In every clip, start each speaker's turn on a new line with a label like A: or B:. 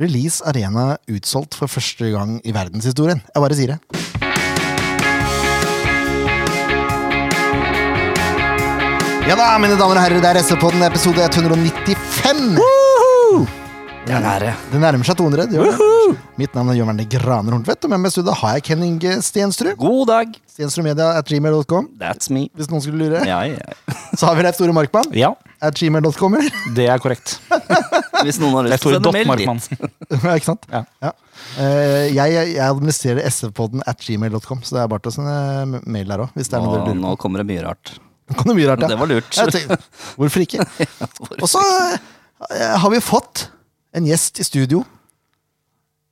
A: Release Arena utsolgt for første gang i verdenshistorien. Jeg bare sier det. Ja da, mine damer og herrer, det er SV-podden episode 195.
B: Ja, det er det.
A: Det nærmer seg 200. Det gjør det. Mitt navn er Jørn Werner Graner Horntvedt, og med meg i studio har jeg Ken Inge Stenstrud.
B: God dag.
A: Stenstrudmedia at gmail.com,
B: That's me.
A: hvis noen skulle lure.
B: Ja, ja.
A: Så har vi Leif Tore Markmann
B: ja,
A: at gmail.com, eller?
C: Det er korrekt.
B: hvis noen har
C: Det er
B: lyst til å
C: Tore
B: sende
C: Dott
B: mail dit.
C: Markmann.
A: Ja, ikke sant?
C: Ja.
A: Eh, jeg, jeg administrerer SV-podden at gmail.com, så det er bare til å sende mail der òg. Hvis det er
B: Nå,
A: noe dere lurer på.
B: nå kommer det mye rart.
A: Det kom noe mye rart, ja.
B: Det var lurt.
A: Jeg tenkte, Hvorfor ikke? Og så eh, har vi fått en gjest i studio.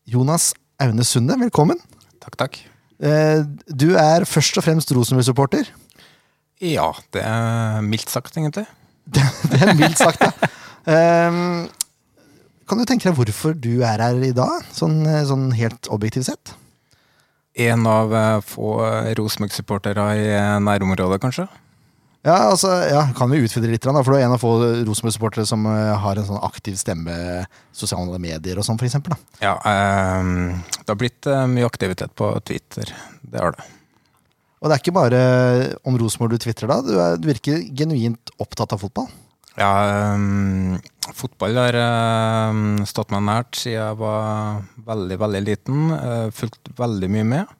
A: Jonas Aune Sunde, velkommen.
D: Takk, takk.
A: Eh, Du er først og fremst Rosenborg-supporter.
D: Ja, det er mildt sagt, egentlig.
A: Det det er mildt sagt, ja. Eh, Kan du tenke deg hvorfor du er her i dag, sånn, eh, sånn helt objektivt sett?
D: En av eh, få Rosenborg-supportere i eh, nærområdet, kanskje.
A: Ja, altså, ja, kan vi utvide litt, da, for du er en av få Rosenborg-supportere som eh, har en sånn aktiv stemme sosiale medier og sånn, for eksempel. Da.
D: Ja, ehm, det har blitt eh, mye aktivitet på Twitter. Det har det.
A: Og det er ikke bare eh, om Rosenborg du tvitrer, da. Du, er, du virker genuint opptatt av fotball.
D: Ja, ehm, fotball har ehm, stått meg nært siden jeg var veldig, veldig liten. eh, fulgt veldig mye med.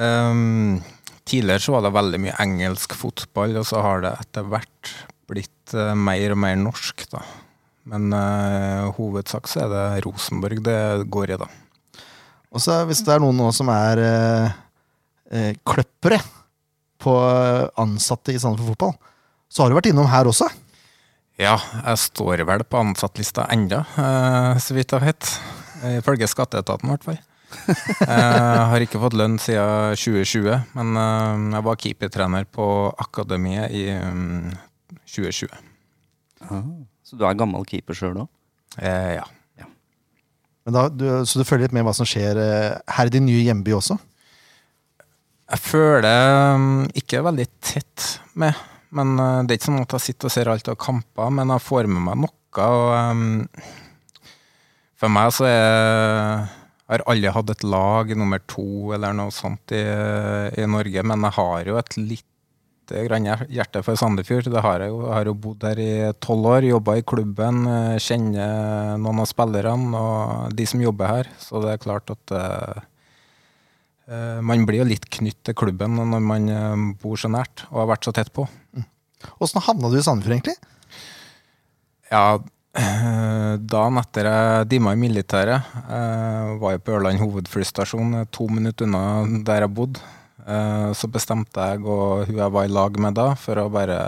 D: Ehm, tidligere så var det veldig mye engelsk fotball, og så har det etter hvert blitt eh, mer og mer norsk, da. Men eh, hovedsak så er det Rosenborg det går i, da.
A: Og så hvis det er noen nå som er eh, eh, kløppere på eh, ansatte i Sandefjord Fotball, så har du vært innom her også.
D: Ja, jeg står vel på ansattlista enda, eh, så vidt jeg vet. Ifølge skatteetaten, i hvert fall. Jeg har ikke fått lønn siden 2020, men eh, jeg var keepertrener på Akademiet i mm, 2020.
B: Så du er gammel keeper sjøl òg?
D: Eh, ja.
A: Men da, du, så du følger litt med hva som skjer eh, her i din nye hjemby også.
D: Jeg føler mm, ikke veldig tett med, men eh, det er ikke sånn at jeg sitter og ser alt av kamper, men jeg får med meg noe. Og, mm, for meg så er, har alle hatt et lag nummer to eller noe sånt i, i Norge, men jeg har jo et lite grann hjer- hjerte for Sandefjord. Det har jeg jo. Jeg har jo bodd her i tolv år, jobba i klubben, eh, kjenner noen av spillerne og de som jobber her, så det er klart at eh, Eh, Man blir jo litt knytt til klubben når man eh, bor så nært og har vært så tett på.
A: Åssen havna du i Sandefjord, egentlig?
D: Ja, eh, dagen etter jeg dimma i militæret, eh, var jeg på Ørland hovedflystasjon, eh, to minutter unna der jeg bodde. Eh, Så bestemte jeg og hun jeg var i lag med da, for å bare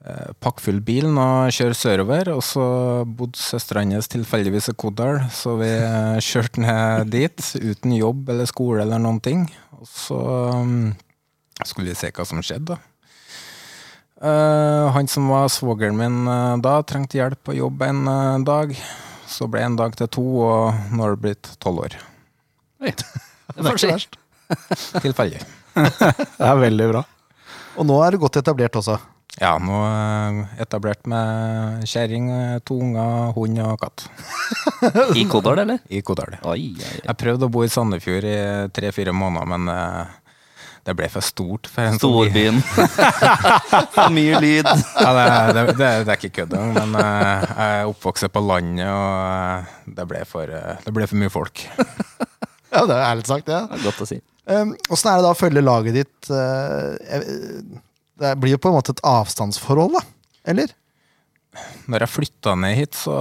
D: eh, pakke full bilen og kjøre sørover. Og så bodde søstera hennes tilfeldigvis i Kodal, så vi eh, kjørte ned dit uten jobb eller skole eller noen ting. Og så mm, skulle vi se hva som skjedde, da. Eh, han som var svogeren min eh, da, trengte hjelp på jobb en eh, dag. Så ble en dag til to, og nå har det blitt tolv år.
A: Det er ikke verst.
D: Tilfeldig.
C: Det er veldig bra.
A: Og nå er du godt etablert også.
D: Ja, nå eh, etablert med kjerring, eh, to unger, hund og katt
B: I Kodal, eller?
D: i Kodal.
B: Oi, oi, oi.
D: Jeg prøvde å bo i Sandefjord i tre-fire måneder, men eh, det ble for stort. For en sånn-
B: Storbyen. For mye lyd.
D: Ja, det, det, det, det er ikke kødd engang, men eh, jeg er oppvokst på landet, og eh, det ble for, eh, det ble for mye folk.
A: Ja, det er ærlig sagt, ja.
B: Det er godt å si.
A: Ehm, Åssen er det da å følge laget ditt eh, jeg- Det blir jo på en måte et avstandsforhold, da? Eller?
D: Når jeg flytta ned hit, så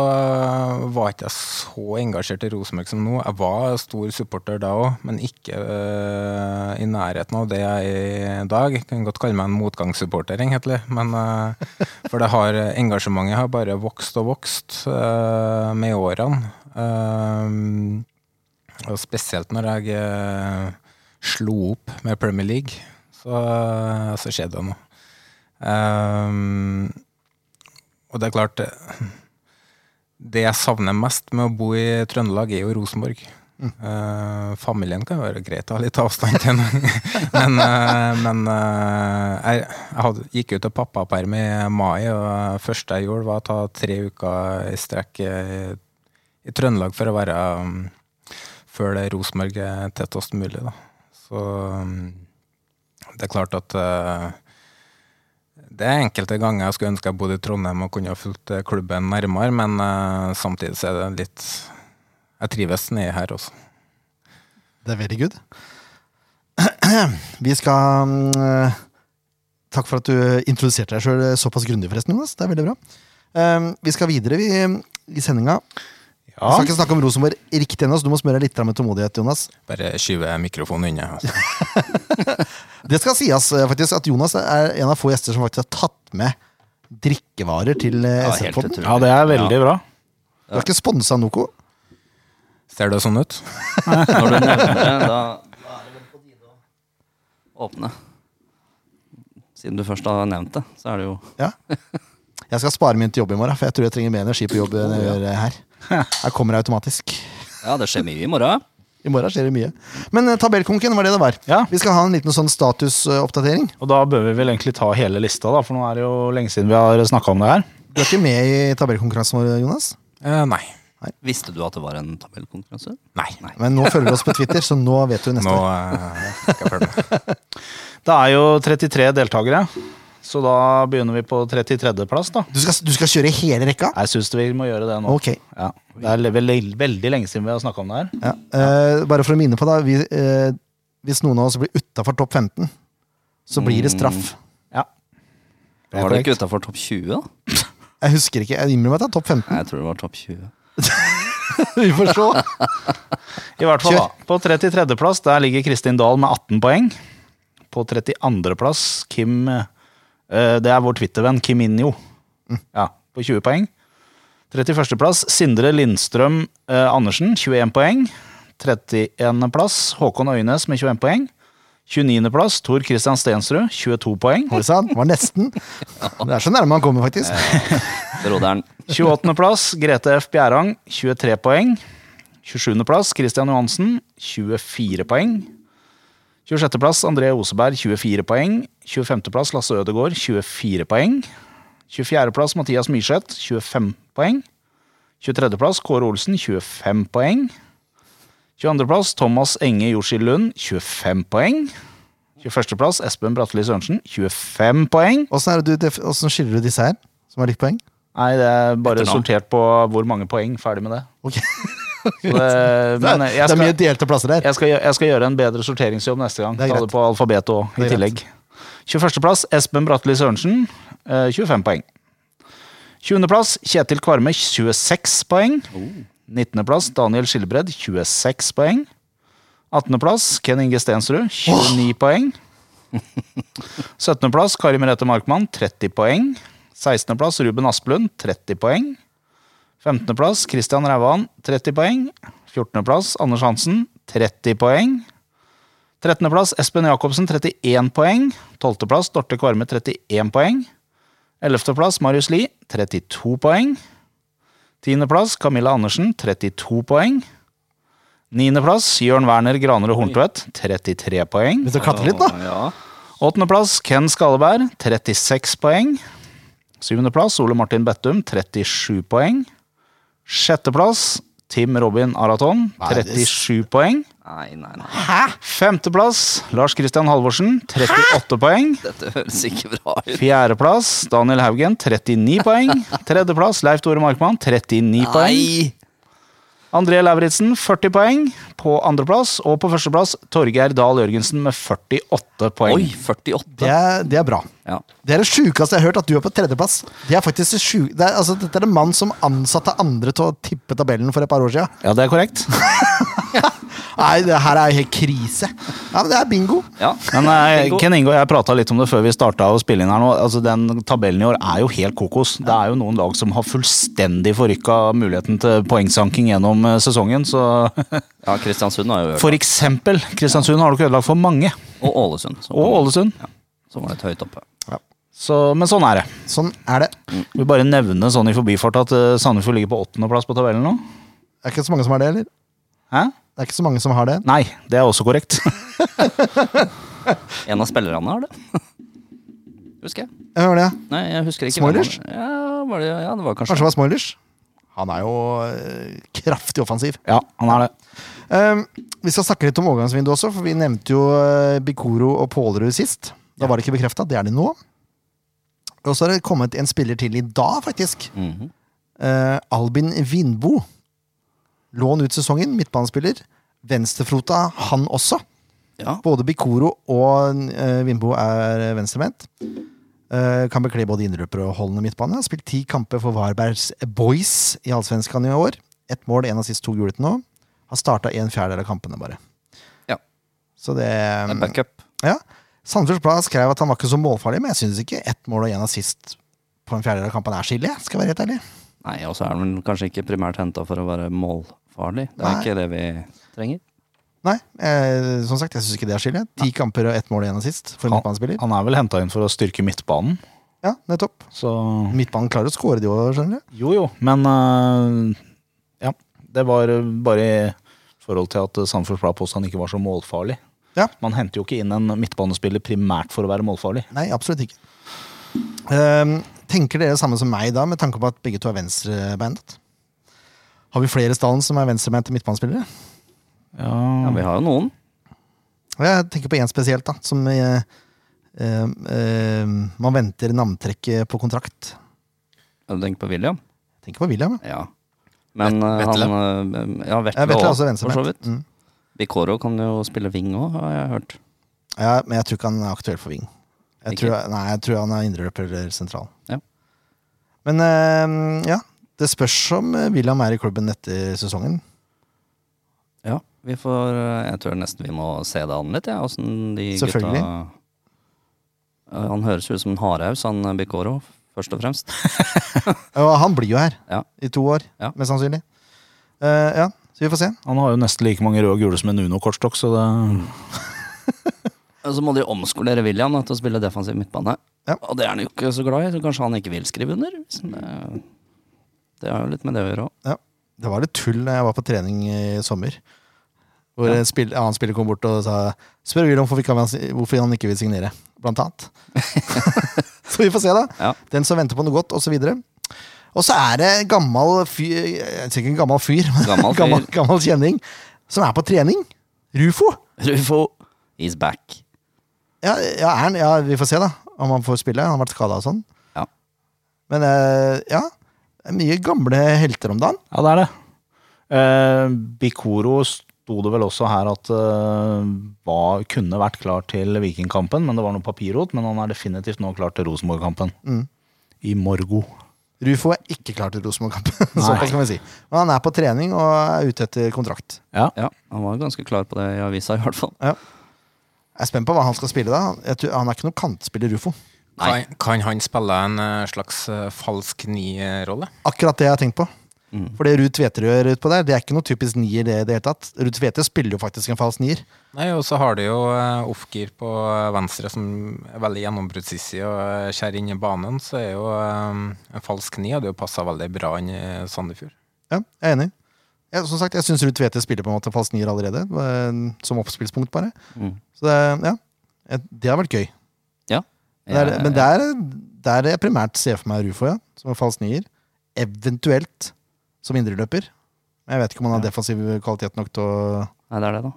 D: var ikke jeg så engasjert i Rosenborg som nå. Jeg var stor supporter da òg, men ikke øh, i nærheten av det jeg er i dag. Jeg kan godt kalle meg en motgangssupporter, egentlig. Men, øh, for det har, engasjementet har bare vokst og vokst øh, med årene. Ehm, og spesielt når jeg øh, slo opp med Premier League, så, eh, så skjedde det noe. Ehm, og det er klart eh, Det jeg savner mest med å bo i Trøndelag, er jo Rosenborg. Eh, familien kan være greit å ha litt avstand til, men, eh, men eh, jeg, jeg hadde, gikk jo til pappaperm i mai, og det første jeg gjorde, var å ta tre uker i strekk eh, i Trøndelag for å være um, før det Rosenborg er tettest mulig. Da. Så um, det er klart at eh, det er enkelte ganger jeg skulle ønske jeg bodde i Trondheim og kunne ha fulgt eh, klubben nærmere, men eh, samtidig så er det litt Jeg trives nedi her også.
A: Det er veldig good. Vi skal mm, Takk for at du introduserte deg sjøl såpass grundig, forresten, Jonas. Det er veldig bra. Eh, Vi skal videre vi, i sendinga. Vi
C: Ja.
A: skal ikke snakke om Rosenborg riktig ennå, så du må smøre deg litt med tålmodighet, Jonas.
D: Bare skyver mikrofonen unna. altså.
A: Det skal sies eh, faktisk at Jonas er en av få gjester som faktisk har tatt med drikkevarer til
B: Ja, helt
A: SF-podden.
B: utrolig.
C: ja, det er veldig bra.
A: Du har ikke sponsa Noco.
D: Ser det sånn ut?
B: Når du nevner det, da da er det vel på tide å åpne. Siden du først har nevnt det, så er det jo
A: Ja. Jeg skal spare min til jobb i morgen, for jeg tror jeg trenger mer energi på jobb enn jeg gjør eh, her. Her kommer det automatisk.
B: Ja, det skjer mye i morgen.
A: I morgen skjer det mye. Men eh, tabellkonken var det det var.
C: Ja.
A: Vi skal ha en liten sånn statusoppdatering.
C: Og da bør vi vel egentlig ta hele lista, da, for nå er det jo lenge siden vi har snakka om det her.
A: Du er ikke med i tabellkonkurransen vår, Jonas?
D: Eh, nei.
B: Visste du at det var en tabellkonkurranse?
D: Nei.
A: Men nå følger du oss på Twitter, så nå vet du neste
D: Nå
A: år.
D: eh, skal jeg følge med.
C: Det er jo 33 deltakere, så da begynner vi på 33.-plass, da.
A: Du skal, du skal kjøre hele rekka?
C: Jeg syns vi må gjøre det nå.
A: Ok.
C: Ja. Det er le- veldig, veldig lenge siden vi har snakka om det her.
A: Ja. eh, bare for å minne på det, vi, eh, hvis noen av oss blir utafor topp 15, så blir det straff.
C: Ja. Det er
B: Var det ikke
C: korrekt.
B: utafor topp 20, da?
A: Jeg husker ikke, jeg innrømmer at det er topp 15.
B: Nei, jeg tror det var topp 20.
A: Vi får se.
C: I hvert fall, da. På 33.-plass der ligger Kristin Dahl med 18 poeng. På 32.-plass Kim eh, Det er vår Twitter-venn Kim Injo. Ja, på 20 poeng. 31.-plass Sindre Lindstrøm eh, Andersen, 21 poeng. 31.-plass Håkon Øynes med 21 poeng. 29.-plass Tor Christian Stensrud, 22 poeng.
A: Oi sann, det var nesten. Det er så nærme han kommer, faktisk.
B: Broderen.
C: 28.-plass Grete F. Bjerang, 23 poeng. 27.-plass Christian Johansen, 24 poeng. 26.-plass André Oseberg, 24 poeng. 25.-plass Lasse Ødegaard, 24 poeng. 24.-plass Mathias Myrseth, 25 poeng. 23.-plass Kåre Olsen, 25 poeng. 22.-plass Thomas Enge Joshi Lund, 25 poeng. 21.-plass Espen Bratli Sørensen, 25 poeng.
A: Åssen er det du def- hvordan skiller du disse her, som har likt poeng?
C: Nei, det er bare
B: Etter navn.
C: sortert på hvor mange poeng. Ferdig med det.
A: Ok.
C: Så det,
A: Det
C: men
A: er,
C: jeg
A: det er mye
C: skal,
A: delte plasser der.
C: jeg, skal, gjø- jeg skal gjøre en bedre sorteringsjobb neste gang.
A: Det er
C: Ta
A: greit.
C: det på alfabetet òg, i
A: Det er greit.
C: tillegg. 21.-plass Espen Bratli Sørensen, eh, 25 poeng. 20.-plass Kjetil Kvarme, 26 poeng.
A: Oh.
C: 19.-plass Daniel Skilbred, 26 poeng. 18.-plass Ken Inge Stensrud, 29 poeng. 17.-plass Kari Merete Markmann, 30 poeng. 16.-plass Ruben Asplund, 30 poeng. 15.-plass Christian Rauan, 30 poeng. 14.-plass Anders Hansen, 30 poeng. 13.-plass Espen Jacobsen, 31 poeng. 12.-plass Dorte Kvarme, 31 poeng. 11.-plass Marius Lie, 32 poeng. 10.-plass Camilla Andersen, 32 poeng. 9.-plass Jørn Werner Granerud Horntvedt, 33 poeng.
A: Hvis du klatre litt, da.
B: Å, Ja.
C: Åttendeplass Ken Skalleberg, 36 poeng. Syvendeplass Ole Martin Bettum, 37 poeng. Sjetteplass Tim Robin Araton,
A: Nei, det-
C: 37 poeng.
B: Nei, nei, nei.
C: Femteplass Lars Christian Halvorsen, 38 poeng.
B: Dette høres ikke bra ut.
C: Fjerdeplass Daniel Haugen, 39 poeng. Tredjeplass Leif Tore Markmann, 39 poeng.
B: Nei!
C: André Lauritzen, 40 poeng. På andreplass og på førsteplass Torgeir Dahl Jørgensen med 48
B: Oi,
C: poeng.
B: 48.
A: Det er, det er bra.
B: Ja.
A: Det er det sjukeste jeg har hørt, at du er på tredjeplass. Det er faktisk det sju, det er, altså, Dette er en mann som ansatte andre til å tippe tabellen for et par år siden.
C: Ja, det er korrekt.
A: Nei, det her er helt krise. Ja, men det er bingo.
B: ja.
C: Men eh,
B: Bingo.
C: Ken Ingo, jeg prata litt om det før vi starta å spille inn her nå. Altså, Den tabellen i år er jo helt kokos. Det er jo noen lag som har fullstendig forrykka muligheten til poengsanking gjennom eh, sesongen. Så
B: ja, Kristiansund har jo hørt.
C: for eksempel Kristiansund har du ikke ødelagt for mange.
B: Og Ålesund. som
C: Og
B: kom-
C: Ålesund.
B: Som var litt høyt oppe.
C: Så, men sånn er det.
A: Sånn er det.
C: Vi bare nevne sånn i forbifart at eh, Sandefjord ligger på åttendeplass på tabellen nå.
A: Det er ikke så mange som har det, eller?
C: Hæ?
A: Det er ikke så mange som har det.
C: Nei, det er også korrekt.
B: En av spillerne har det. Husker jeg.
A: Jeg hører det.
B: Nei, jeg husker ikke. hvem
A: Smoilers?
B: han- Ja, var det, ja, det var kanskje
A: Kanskje det var Smoilers? Han er jo eh, kraftig offensiv.
C: Ja, han er det.
A: Um, vi skal snakke litt om overgangsvinduet også, for vi nevnte jo eh, Bikoro og Pålerud sist. Da var det ikke bekrefta, det er de nå. Og så har det kommet en spiller til i dag, faktisk.
B: Mhm.
A: Eh, Albin Vindbo. Lån ut sesongen, midtbanespiller. Venstrefrota, han også.
B: Ja.
A: Både Bikoro og eh, Vindbo er venstrevendt. Eh, kan bekle både indreløper og holdende midtbane. Har spilt ti kamper for Varbergs Boys i Allsvenskan i år. Ett mål, én av siste to gule til nå. Har starta en fjerdedel av kampene, bare.
B: Ja.
A: Så det
B: Det er backup.
A: ja. Sandefjords Blad skrev at han var ikke så målfarlig, men jeg syns ikke ett mål og én assist på en fjerdedel av kampene er så ille. jeg, Skal jeg være helt ærlig.
B: Nei, og så er den vel kanskje ikke primært henta for å være målfarlig. Det er
A: Nei.
B: ikke det vi trenger.
A: Nei, eh, som sagt, jeg syns ikke det er så ille. Ti kamper og ett mål og én assist for en midtbanespiller.
C: Han er vel henta inn for å styrke midtbanen,
A: Ja, nettopp.
C: så
A: Midtbanen klarer å skåre, de òg, skjønner du.
C: Jo, jo, men øh, Ja. Det var eh, bare i forhold til at Sandefjords Blad påstod han ikke var så målfarlig.
A: Ja.
C: Man henter jo ikke inn en midtbanespiller primært for å være målfarlig.
A: Nei, absolutt ikke. Ehm, tenker dere samme som meg da, med tanke på at begge to er venstrebeinet? Har vi flere i stallen som er venstrebeinte midtbanespillere?
B: Ja, Vi har jo noen.
A: Jeg tenker på én spesielt, da, som eh, eh, eh, man venter navntrekket på kontrakt.
B: Du tenker på William?
A: Jeg tenker på William. ja.
B: Ja. Men eh,
D: Vetle.
B: han eh, Ja,
A: Jeg vet
B: Vetle
A: det er også
B: òg, for så
A: venstrebeint.
B: vidt.
A: Mm.
B: Bikoro kan jo spille wing òg, har jeg hørt.
A: Ja, men jeg tror ikke han er aktuell for wing. Jeg
B: Ikke?
A: tror, nei, jeg tror han er indreløper eller sentral.
B: Ja.
A: Men eh, ja, det spørs om eh, William er i klubben etter sesongen.
B: Ja, vi får eh, Jeg tror nesten vi må se det an litt, jeg. Ja, åssen de
A: Selvfølgelig.
B: gutta Eh, Han høres ut som en hardhaus, han eh, Bikoro, først og fremst.
A: Og han blir jo her
B: Ja.
A: i to år,
B: Ja.
A: mest sannsynlig. Eh, ja, så vi får se.
C: Han har jo nesten like mange røde og gule som en Uno-kortstokk, så det
B: Og så må de omskolere William da, til å spille defensiv midtbane.
A: Ja.
B: Og det er han jo ikke så glad i, så kanskje han ikke vil skrive under. hvis han, eh, Det har jo litt med det å gjøre òg.
A: Ja. Det var litt tull da jeg var på trening i sommer. Hvor
B: Ja.
A: en spill, en annen spiller kom bort og sa Spør William hvorfor, ikke han- hvorfor han ikke vil signere, blant annet. så vi får se, da.
B: Ja.
A: Den som venter på noe godt, osv. Og så er det gammel fyr Jeg sier ikke en gammel fyr, men
B: Gammel
A: gammel,
B: fyr.
A: gammel, kjenning som er på trening. Rufo.
B: Rufo is back.
A: Ja, ja, er han, ja, vi får se, da, om han får spille. Han har vært skada og sånn.
B: Ja.
A: Men eh, ja, det er mye gamle helter om dagen.
C: Ja, det er det. Eh, Bikoro sto det vel også her at eh, var, kunne vært klar til Vikingkampen, men det var noe papirrot. Men han er definitivt nå klar til Rosenborg-kampen. I morgo.
A: Rufo er ikke klar til Rosenborg-kamp.
C: Nei.
A: Såpass kan vi si. Men han er på trening og er ute etter kontrakt.
C: Ja.
B: Ja, han var ganske klar på det i avisa, i hvert fall.
A: Jeg er spent på hva han skal spille da. Jeg tror, han er ikke noen kantspiller, Rufo.
B: Nei.
D: Kan, kan han spille en eh, slags eh, falsk eh, ni-rolle?
A: Akkurat det jeg har tenkt på.
B: Mm.
A: For det Ruud Tveter gjør utpå der, det er ikke noe typisk nier. det i det hele tatt. Ruud Tveter spiller jo faktisk en falsk nier.
D: Nei, og så har du jo eh, off-gear på eh, venstre som er veldig gjennombruddssissig og eh, skjærer inn i banen, så er jo eh, en falsk ni hadde jo passa veldig bra inn i Sandefjord.
A: Ja, jeg er enig. Jeg, som sagt, jeg syns Ruud Tveter spiller på en måte falsk nier allerede. eh, Som oppspillspunkt, bare.
B: Mm.
A: Så det, ja. Eh, Det har vært gøy. Det er, men
B: Jeg-
A: der, der jeg primært ser for meg Rufo, ja. Som en falsk nier. Eventuelt som indreløper. Men jeg vet ikke om han har defensiv kvalitet nok til å
B: Nei, det er det, da.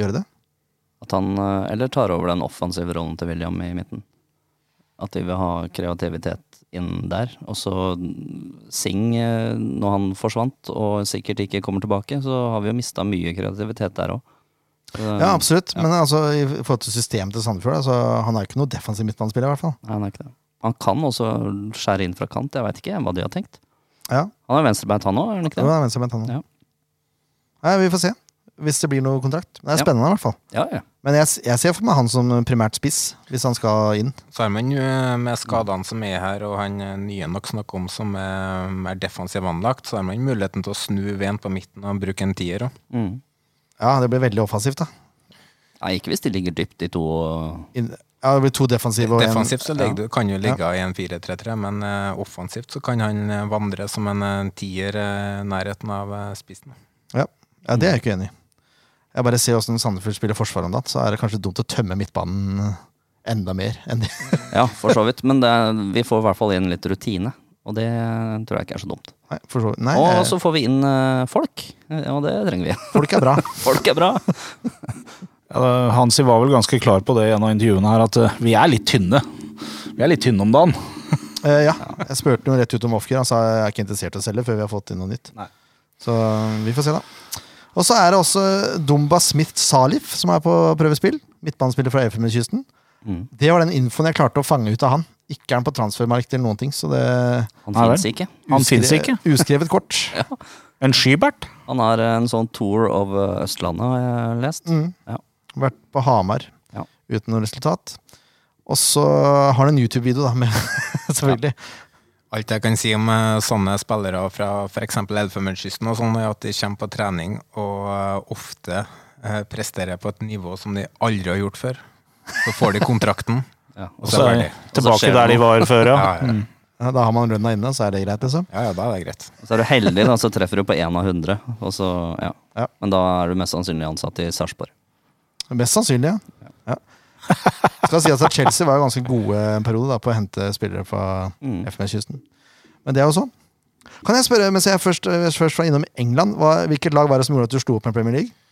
A: gjøre det.
B: At han eh, eller tar over den offensive rollen til William i midten. At de vil ha kreativitet inn der. Og så Sing, eh, når han forsvant og sikkert ikke kommer tilbake, så har vi jo mista mye kreativitet der eh, òg. Um,
A: Ja, absolutt. Men altså, i forhold til systemet til Sandefjord, altså, han er jo ikke noe defensiv midtbanespiller, i hvert fall.
B: Han er ikke det. Han kan også skjære inn fra kant, jeg veit ikke hva de har tenkt.
A: Ja,
B: Han er venstrebeint, han òg, er han
A: det
B: ikke det?
A: var venstrebent han nå.
B: Ja.
A: Nei, vi får se. Hvis det blir noe kontrakt. Men det er
B: Ja.
A: spennende, i hvert fall.
B: Ja, ja.
A: Men jeg, jeg ser for meg han som primært spiss, hvis han skal inn.
D: Så har man jo eh, med skadene som er her, og han eh, nye nok snakker om som er mer defensiv anlagt, så har man muligheten til å snu veden på midten og bruke en tier. også.
B: Mm.
A: Ja, det blir veldig offensivt, da.
B: Nei, ikke hvis de ligger dypt, de to.
A: Inn- Ja, det blir to defensive og en-
D: Defensivt så ligger, du- kan jo ligge i en 4-3-3, men eh, offensivt så kan han eh, vandre som en eh, tier eh, i nærheten av eh, spissen.
A: Ja, ja det er jeg ikke enig i. Jeg bare ser hvordan Sandefjord spiller forsvar om dagen, så er det kanskje dumt å tømme midtbanen enda mer. enn det.
B: Ja, for så vidt. Men det, vi får i hvert fall inn litt rutine. Og det tror jeg ikke er så dumt.
A: Nei, for så, nei
B: og
A: eh,
B: så får vi inn eh, folk, eh, og det trenger vi.
A: folk er bra.
B: Folk er bra!
C: Ja, da- Hansi var vel ganske klar på det i en av intervjuene her, at eh, vi er litt tynne. Vi er litt tynne om dagen.
A: Eh, ja, jeg spurte jo rett ut om Ofker. Han sa jeg er ikke interessert i å selge før vi har fått inn noe nytt.
C: Nei.
A: Så eh, vi får se, da. Og så er det også Dumba Smith Salif som er på prøvespill. Midtbanespiller fra Elfenbenskysten.
B: Mm.
A: Det var den infoen jeg klarte å fange ut av han. Ikke er han på transfermarkt eller noen ting, så det
B: Han
C: Nei vel.
B: fins ikke.
C: Han
A: uskre-
C: finnes ikke.
A: Uskrevet kort.
C: En Skybert?
B: Han har en sånn tour of eh, Østlandet, har jeg lest.
A: Mm.
B: Ja.
A: Vært på Hamar
B: Ja.
A: uten noe resultat. Og så har han en YouTube-video, da, med, selvfølgelig.
D: Alt jeg kan si om eh, sånne spillere fra f.eks. Elfenbenskysten, og sånn, er at de kommer på trening og eh, ofte eh, presterer på et nivå som de aldri har gjort før. Så får de kontrakten,
B: Ja.
D: og
B: Og
D: så
C: Så
D: er de
C: er tilbake
B: skjer
C: der
B: det
C: de var før,
D: Ja,
C: ja.
D: ja, ja.
A: Ja, Da har man lønna inne, så er det greit, liksom.
D: ja, ja da er det greit.
B: så er du heldig, da, så treffer du på én av hundre. Og så, ja.
A: Ja.
B: Men da er du mest sannsynlig ansatt i Sarpsborg.
A: Mest sannsynlig, ja. ja. Skal sies at Chelsea var jo ganske gode en periode da, på å hente spillere fra
B: Mm.
A: FMS-kysten. Men det er jo sånn. Kan jeg spørre, mens jeg først, eh, først var innom England, hva, hvilket lag var det som gjorde at du slo opp med Premier League?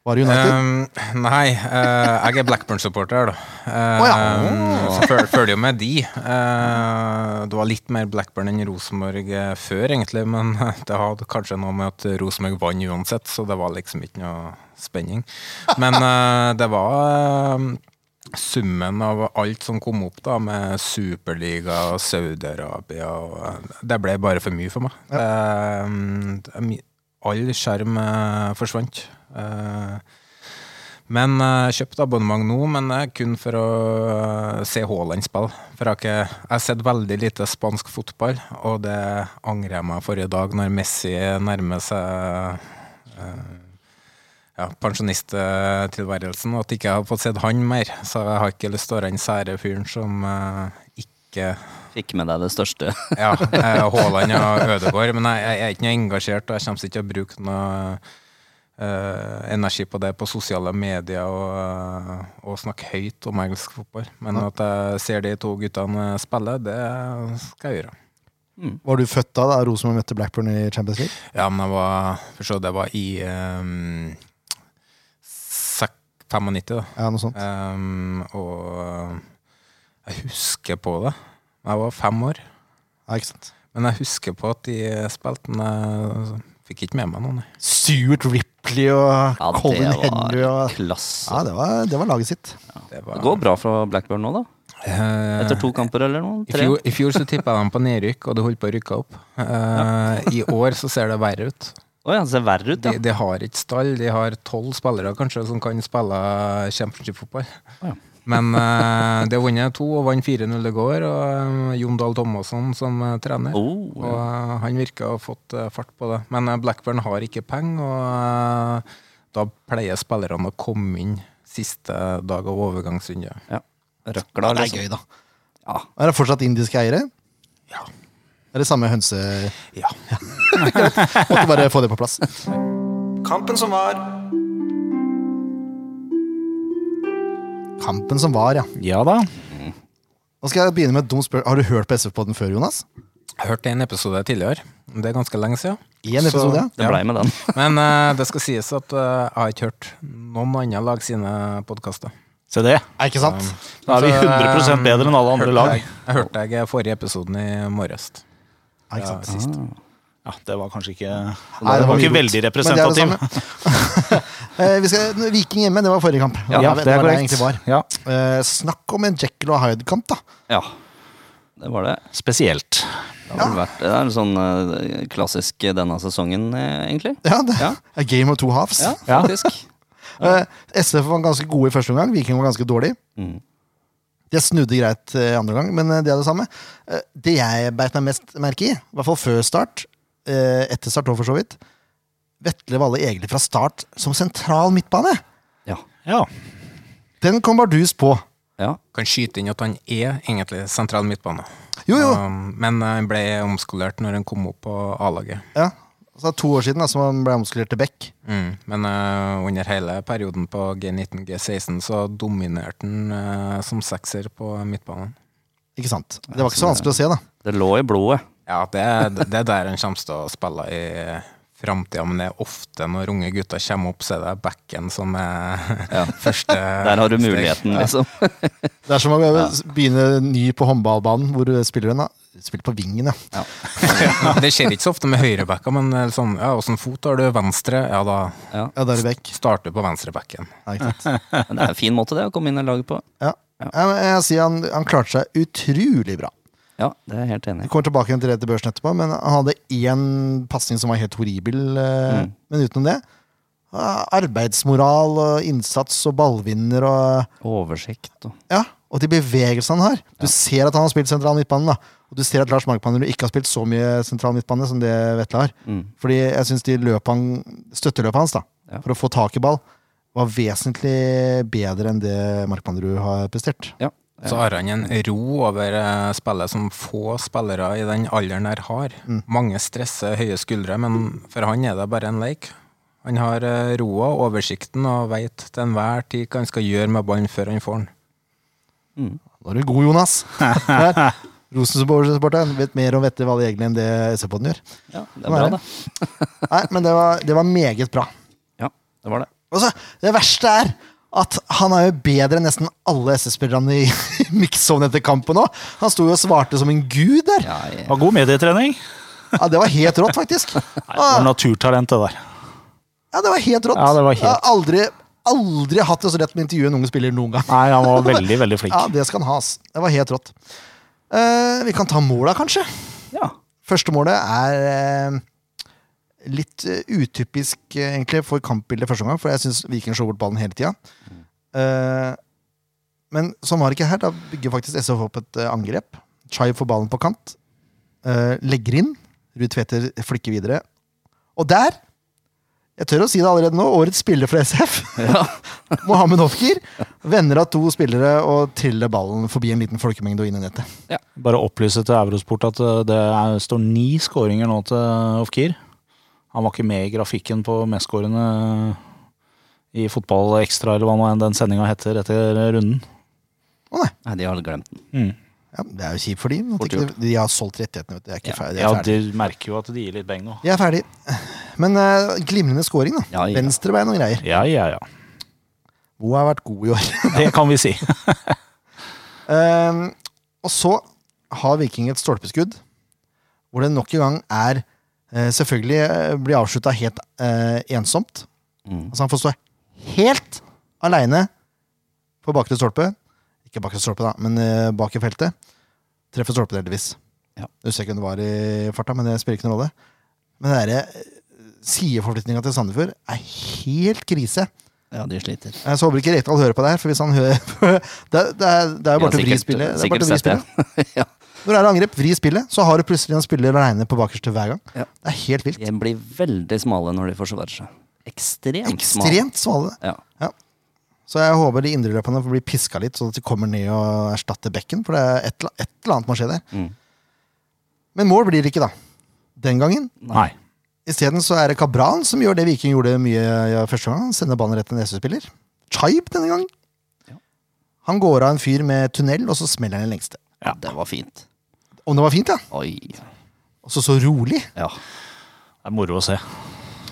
A: Var det United?
D: Eh, nei, eh, jeg er Blackburn-supporter, da. Eh,
A: Å ja.
D: så føl, følger jo med de. Eh, det var litt mer Blackburn enn Rosenborg eh, før, egentlig, men det hadde kanskje noe med at Rosenborg vant uansett, så det var liksom ikke noe spenning. Men eh, det var eh, summen av alt som kom opp, da, med superliga og Saudi-Arabia og eh, Det ble bare for mye for meg. Eh, det er mye- all skjerm eh, forsvant. Eh, men eh, jeg kjøpte abonnement nå, men det er kun for å eh, se Haaland spille. For jeg har, ikke, jeg har sett veldig lite spansk fotball, og det angrer jeg meg for i dag, når Messi nærmer seg eh, ja, pensjonisttilværelsen, og at ikke jeg har fått sett han mer. Så jeg har ikke lyst til å være den sære fyren som eh, ikke
B: Fikk med deg det største.
D: ja, eh, Haaland og Ødegaard. Men jeg, jeg er ikke noe engasjert, og jeg kommer ikke til å bruke noe eh, energi på det på sosiale medier og, eh, og snakke høyt om engelsk fotball. Men at jeg ser de to guttene eh, spille, det skal jeg gjøre.
A: Var du født da, da Rosenborg møtte Blackburn i Champions League?
D: Ja, men jeg var, for så, vidt, det var i um, 95, da.
A: Ja, noe sånt.
D: Ehm, og jeg husker på det. Jeg var fem år.
A: Ja, ikke sant?
D: Men jeg husker på at de spilte, men jeg fikk ikke med meg noen. jeg.
A: Stuart Ripley og
B: Ja, det
A: Colin
B: var
A: Henry og
B: klasse.
A: Ja, det var, det var laget sitt.
D: Det
B: Det
D: var,
B: går bra fra Blackburn nå, da.
D: Eh,
B: Etter to kamper eller noe?
D: I
B: Tre?
D: fjor, I fjor så tippa jeg dem på nedrykk, og det holdt på å rykke opp. Eh, I år så ser det verre ut.
B: Å ja, det ser verre ut,
D: De,
B: ja.
D: de har ikke stall. De har tolv spillere kanskje som kan spille championship-fotball.
B: Ja.
D: Men eh, de har vunnet to og vant 4-0 i går. Og eh, Jon Dahl Thomasson som eh, trener.
B: Oh,
D: Og
B: ja.
D: eh, han virker å ha fått eh, fart på det. Men eh, Blackburn har ikke penger, og eh, da pleier spillerne å komme inn siste dag av overgangsrunde.
B: ja.
A: det
B: Røkla,
A: er
B: liksom.
A: gøy, da.
B: Ja.
A: Er det fortsatt indiske eiere?
D: Ja.
A: Er det samme hønse...
D: Ja.
A: Måtte bare få det på plass.
D: Kampen som var
A: Kampen som var, ja.
C: Ja da.
A: Nå skal jeg begynne med et dumt spørsmål. Har du hørt på SF-podden før, Jonas?
D: Jeg hørte en episode tidligere. Det er ganske lenge siden.
A: Én episode, ja.
B: Det blei med den.
D: Men eh, det skal sies at eh, jeg har ikke hørt noen andre lag sine podkaster.
C: Se det.
A: Er ikke sant?
C: Da er vi 100 bedre enn alle andre lag.
D: Jeg, jeg hørte jeg forrige episoden i morges.
A: Er ikke sant?
D: Sist.
C: Ja, det var kanskje ikke
A: Nei,
C: det var
A: mye
C: ikke
A: dumt.
C: veldig
A: Men det er det
C: representativ.
A: samme. Eh, vi skal, Viking hjemme, det var forrige kamp.
C: Ja,
A: var
C: det er
A: var
C: korrekt.
A: egentlig var.
C: Ja,
A: Eh, snakk om en Jekyll og Hyde-kamp, da.
B: Ja. Det var det.
C: spesielt.
B: Det, har vel vært, det er en sånn eh, klassisk denne sesongen, eh, egentlig.
A: Ja, det
B: Ja.
A: A Game of two halves.
B: Ja,
C: Ja.
B: faktisk.
A: Eh, SF var ganske gode i første omgang, Viking var ganske dårlig.
B: Mm.
A: Det snudde greit eh, i andre omgang, men eh, det er det samme. Eh, Det jeg beit meg mest merke i, i hvert fall før start, eh, etter start òg, for så vidt Vetle Valle Egil fra start som sentral midtbane.
B: Ja.
C: Ja.
A: Den kom bardus på.
B: ja.
D: Kan skyte inn at han er egentlig sentral midtbane.
A: Jo, jo.
D: Um, men han ble omskolert når han kom opp på A-laget.
A: Ja. Så det er to år siden da, som han ble omskolert til Beck.
D: Mm. Men eh, under hele perioden på G19, G16 så dominerte han eh, som sekser på midtbanen.
A: Ikke sant? Det var ikke så vanskelig å se, da.
B: Det lå i blodet.
D: Ja, det er, det er der han kommer til å spille i framtida, men det er ofte når unge gutter kommer opp, så er det backen som er første
B: Der har du
D: steg.
B: muligheten, liksom.
A: Det er som å begynne ny på håndballbanen. Hvor spiller hun, da? Spiller på vingen, ja.
D: Ja. Det skjer ikke så ofte med høyrebacker, men eh, sånn, ja, åssen fot har du? Venstre? Ja, da
B: Ja.
A: Ja, der er Beck.
D: starter du på venstrebacken.
A: Ja, ikke sant?
B: Men det er en fin måte det å komme inn i laget på.
A: Ja. Ja, men Jeg sier han, han klarte seg utrolig bra.
B: Ja, det er jeg helt enig
A: Vi
B: i.
A: kommer tilbake igjen til det til børsen etterpå, men han hadde én pasning som var helt horribel. eh,
B: Mm.
A: Men utenom det eh, Arbeidsmoral og innsats og ballvinner og
B: Oversikt og
A: Ja, og de bevegelsene han har. Du ser at han har spilt sentral midtbane. da. Og du ser at Lars Markmann ikke har spilt så mye sentral midtbane som det Vetle har.
B: mm.
A: Fordi jeg syns støtteløpet hans da,
B: Ja.
A: for å få tak i ball var vesentlig bedre enn det Markmannerud har prestert.
B: Ja.
D: Så har han en ro over eh, spillet som få spillere i den alderen her har.
A: Mm.
D: Mange stresser høye skuldre, men for han er det bare en leik. Han har eh, roa, oversikten og veit til enhver tid hva han skal gjøre med ballen før han får den.
B: Mm.
A: Da er du god, Jonas! Der. Rosenborg-supporteren vet mer om Vette Valle Egil enn det SR-podden gjør.
B: ja, det er
A: Sånn er
B: bra,
A: det.
B: det.
A: Nei, men det var, det var meget bra.
B: Ja, det var det.
A: Og så, det verste er at han er jo bedre enn nesten alle SS-spillerne i mix-ovnen etter kampen òg. Han sto jo og svarte som en gud der.
B: Ja, jeg,
C: Var god medietrening.
A: Ja, det var helt rått, faktisk.
C: Var
A: Ja,
C: naturtalent, det der.
A: det var helt rått.
C: Ja, det var helt-
A: Jeg har aldri, aldri hatt det så lett med å intervjue en ung spiller noen gang.
C: Nei, han var veldig, veldig flink.
A: Ja, Det skal han ha. ass. Det var helt rått. Eh, vi kan ta måla, kanskje.
B: ja.
A: Første målet er eh, litt eh, utypisk eh, egentlig for kampbildet første omgang, for jeg syns Viking slår bort ballen hele tida. Eh, men sånn var det ikke her. Da bygger faktisk SF opp et eh, angrep. Chai får ballen på kant. eh, legger inn. Ruud Tveter flikker videre. Og der jeg tør å si det allerede nå. Årets spiller fra SF, Mohammed Hofkir, vender av to spillere og triller ballen forbi en liten folkemengde og inn i nettet.
C: Bare opplyse til Eurosport at eh, det er, står ni skåringer nå til Ofkir. Han var ikke med i grafikken på mestskårende i Fotball Extra eller hva nå enn den sendinga heter etter runden.
B: Nei, de har glemt den.
A: Ja, Det er jo kjipt for dem.
B: Fort
A: De, de har solgt rettighetene. Vet du. De er ikke
B: Ja.
A: ferdig. De
C: Ja,
A: er ferdig.
C: Du merker jo at de gir litt beng nå.
A: De er ferdig. Men eh, glimrende scoring, da.
B: Ja, ja.
A: Venstrebein og greier.
C: Ja, ja, ja.
A: Bo har vært god i år.
C: Det kan vi si.
A: Ehm, og så har Viking et stolpeskudd, hvor det nok en gang er eh, Selvfølgelig eh, blir avslutta helt eh, ensomt.
B: Mm.
A: Altså, han får stå helt aleine på bakre stolpe. Ikke bakre stolpe, da, men eh, bak i feltet. Treffer stolpen heldigvis.
B: Ja.
A: Jeg husker ikke hvem det var i farta, men det spiller ikke noen rolle. Men den derre, eh, sideforflytninga til Sandefjord er helt krise.
B: Ja, de sliter.
A: Jeg så håper ikke Rekdal hører på det her, for hvis han hører Det, det, er, det er jo bare til å vri spillet. Det er bare
B: sikkert
A: til å vri
B: sett det.
A: spillet.
B: ja.
A: Når det er angrep, vri spillet, så har du plutselig en spiller aleine på bakerste hver gang.
B: Ja.
A: Det er helt vilt.
B: De blir veldig smale når de forsvarer seg. Ekstremt, smale.
A: Ekstremt svale.
B: Ja.
A: Så jeg håper de indreløperne får bli piska litt, sånn at de kommer ned og erstatter bekken, for det er et, eller- et eller annet må skje der.
B: Mm.
A: Men mål blir det ikke, da. Den gangen.
C: Nei.
A: Isteden så er det Kabran som gjør det Viking gjorde mye ja, første gang. Han sender ballen rett til en SV-spiller. Chaib denne gangen.
B: Ja.
A: Han går av en fyr med tunnel, og så smeller han i lengste.
B: ja, det var fint.
A: Om det var fint, ja.
B: Oi.
A: Og så så rolig.
B: Ja.
C: Det er moro å se.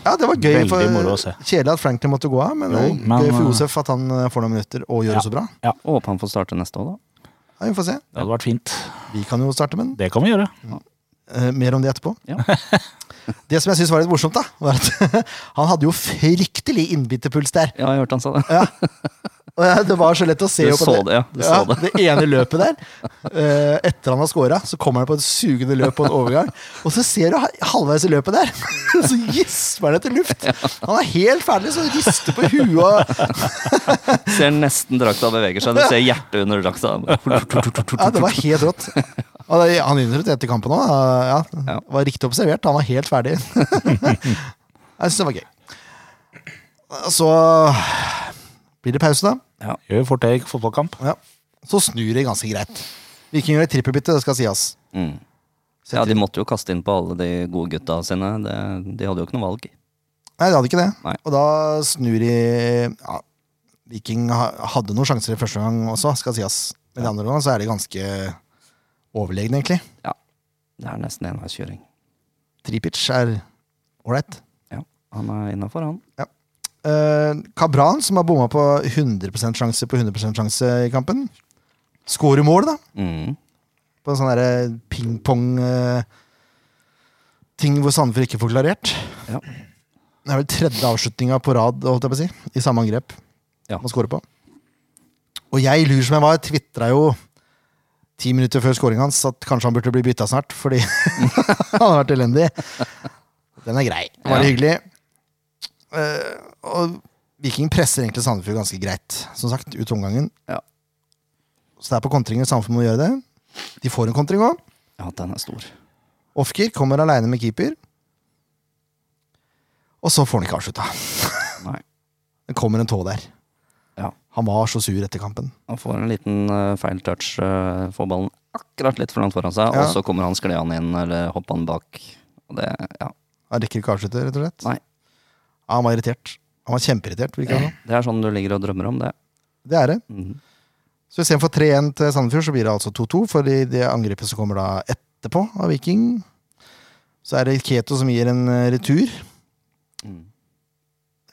A: Ja, det var gøy.
C: Veldig
A: for,
C: moro å se.
A: Kjedelig at Franklin måtte gå av, men,
C: Jo,
A: det er
C: men,
A: gøy for
C: eh,
A: Josef at han eh, får noen minutter og gjør
C: Ja.
A: det så bra.
B: Håper han får starte neste år, da.
A: Ja, vi får se.
C: Det hadde vært fint.
A: Vi kan jo starte med den.
C: Det kan vi gjøre.
A: Eh, mer om det etterpå.
B: Ja.
A: det som jeg syns var litt morsomt, da, var at han hadde jo fryktelig innbytterpuls der.
B: Ja, jeg hørte han sa det.
A: Og jeg- det var så lett å se
B: Du
A: jo på
B: så det, ja. Du så det.
A: det ene løpet der. eh, etter han har scora, så kommer han på et sugende løp på en overgang. Og så ser du ha- halvveis i løpet der, så gisper han etter luft! Han er helt ferdig, så rister på huet og
B: Ser nesten drakta beveger seg. Du ser hjertet under drakta.
A: Ja, det var helt rått. Og det, han innrømte etter kampen òg. Ja, det var riktig observert. Han var helt ferdig. jeg syns det var gøy. Så blir det pause, da.
C: Gjør fort det i fotballkamp.
A: Ja. Så snur det ganske greit. Viking gjør et trippelbytte, det skal sies.
B: Mm. Ja, de måtte jo kaste inn på alle de gode gutta sine. Det, de hadde jo ikke noe valg.
A: Nei, de hadde ikke det.
B: Nei.
A: Og da snur de ja, Viking ha- hadde noen sjanser i første gang også, skal sies. Men i andre gang så er de ganske overlegne, egentlig.
B: Ja. Det er nesten enveiskjøring.
A: Tripic er ålreit.
B: Ja, han er innafor, han.
A: Eh, Kabran, som har bomma på 100 sjanse på 100 sjanse i kampen, skårer mål, da.
B: Mm.
A: På en sånn derre pingpong-ting hvor Sandefjord ikke får klarert.
B: Ja.
A: Det er vel tredje avslutninga på rad holdt jeg på å si, i samme angrep
B: Ja.
A: man scorer på. Og jeg, lur som jeg var, tvitra jo ti minutter før scoringen hans at kanskje han burde bli bytta snart, fordi han har vært elendig. Den er grei. Bare
B: Ja.
A: hyggelig. Eh, og Viking presser egentlig Sandefjord ganske greit, som sagt, ut omgangen.
B: Ja.
A: Så det er på kontringer Sandefjord må gjøre det. De får en kontring òg.
B: ja, den er stor.
A: Ofker kommer aleine med keeper. Og så får han ikke avslutta.
B: Nei.
A: Det kommer en tå der.
B: Ja.
A: Han var så sur etter kampen.
B: Han får en liten eh, feil touch, eh, får ballen akkurat litt for langt foran seg,
A: Ja.
B: og så kommer han sklian inn, eller hopper han bak. Og det, ja.
A: Han rekker ikke å avslutte, rett og slett.
B: Nei.
A: Ja, han var irritert. Han var kjempeirritert. virker det som.
B: Det er sånn du ligger og drømmer om det.
A: Det er det.
B: Mhm.
A: Så istedenfor 3-1 til Sandefjord, så blir det altså 2-2. For i det angrepet som kommer da etterpå, av Viking, så er det Keto som gir en eh, retur.
B: Mm.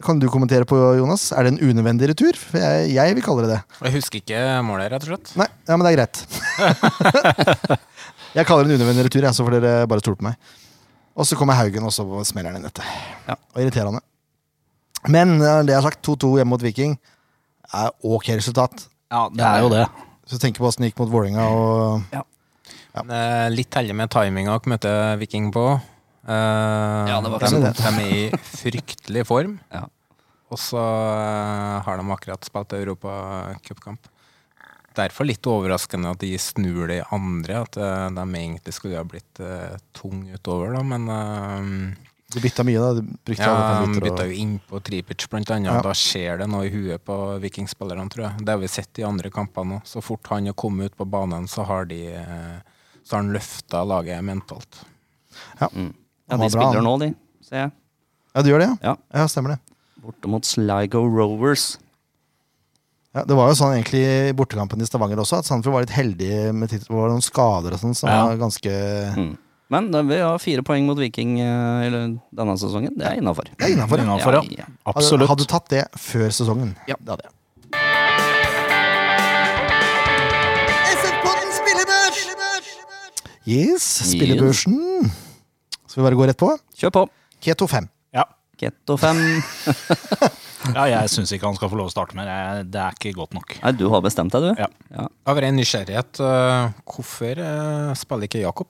A: Kan du kommentere på, Jonas? Er det en unødvendig retur? For jeg, jeg vil kalle det det.
D: Jeg husker ikke målet, rett og slett.
A: Nei, ja, men det er greit. jeg kaller det en unødvendig retur, jeg, så får dere bare stole på meg. Og så kommer Haugen, og så smeller han inn dette.
B: Ja.
A: Og irriterende. Men eh, det jeg har sagt, 2-2 hjemme mot Viking er ok resultat.
D: Ja,
C: Det er jo det.
A: Så tenker på åssen det gikk mot Vålerenga og
D: Eh, Litt heldig med timinga dere møter Viking på. Eh,
B: Ja, det var
D: de,
A: kanskje det.
D: de er i fryktelig form.
B: Ja.
D: Og så eh, har de akkurat spilt europacupkamp. Derfor litt overraskende at de snur det i andre, at eh, de egentlig skulle ha blitt eh, tung utover, da, men eh,
A: Du bytta mye, da. Du brukte
D: ja,
A: alle
D: han
A: favoritter.
D: bytta
A: Og...
D: jo inn på Tripic, blant annet.
A: Ja.
D: og Da skjer det noe i huet på vikingspillerne, tror jeg. Det har vi sett i andre kamper nå. Så fort han har kommet ut på banen, så har de eh, så har han løfta laget mentalt.
B: Mm. Ja,
A: Han
B: de
A: var bra,
B: spiller
A: han.
B: nå, de, ser jeg.
A: Ja, du gjør det, ja?
B: Ja.
A: Ja, stemmer det.
B: Borte mot Sligo Rovers.
A: Ja, det var jo sånn egentlig i bortekampen i Stavanger også, at Sandefjord var litt heldig med titt- det var noen skader og sånn som
D: Ja.
A: var ganske
B: Mm. Men det, vi har fire poeng mot Viking eh, eller denne sesongen. Det er innafor.
A: Det er innafor.
C: Innenfor, ja.
B: ja.
A: Hadde,
C: Absolutt.
A: hadde du tatt det før sesongen?
B: Ja.
A: det hadde jeg. Yes, spillebørsen. Skal vi bare gå rett på?
B: Kjør på.
A: Keto 5.
C: Ja.
B: Getto 5.
C: ja, jeg syns ikke han skal få lov å starte mer. Jeg- Det er ikke godt nok.
B: Nei, du har bestemt deg, du.
C: Ja.
D: Av ren nysgjerrighet, eh, hvorfor eh, spiller ikke Jakob?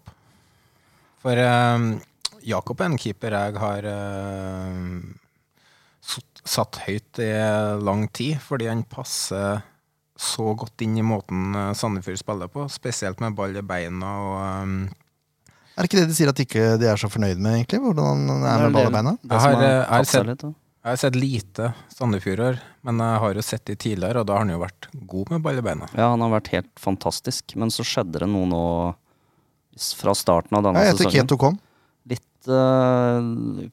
D: For eh, Jakob er en keeper jeg har eh, sott- satt høyt i lang tid, fordi han passer så godt inn i måten eh, Sandefjord spiller på, spesielt med ball i beina og eh,
A: Er det ikke det de sier at ikke de er så fornøyd med, egentlig? Hvordan han er med ball og beina?
B: Det som
D: Jeg har, eh,
B: tapt seg
D: sett-
B: litt, da.
D: Jeg har sett lite Sandefjorder, men jeg har jo sett de tidligere, og da har han jo vært god med ball i beina.
B: Ja, han har vært helt fantastisk, men så skjedde det noe nå s- fra starten av denne
A: Ja, etter
B: sesongen.
A: Keto kom.
B: Litt eh,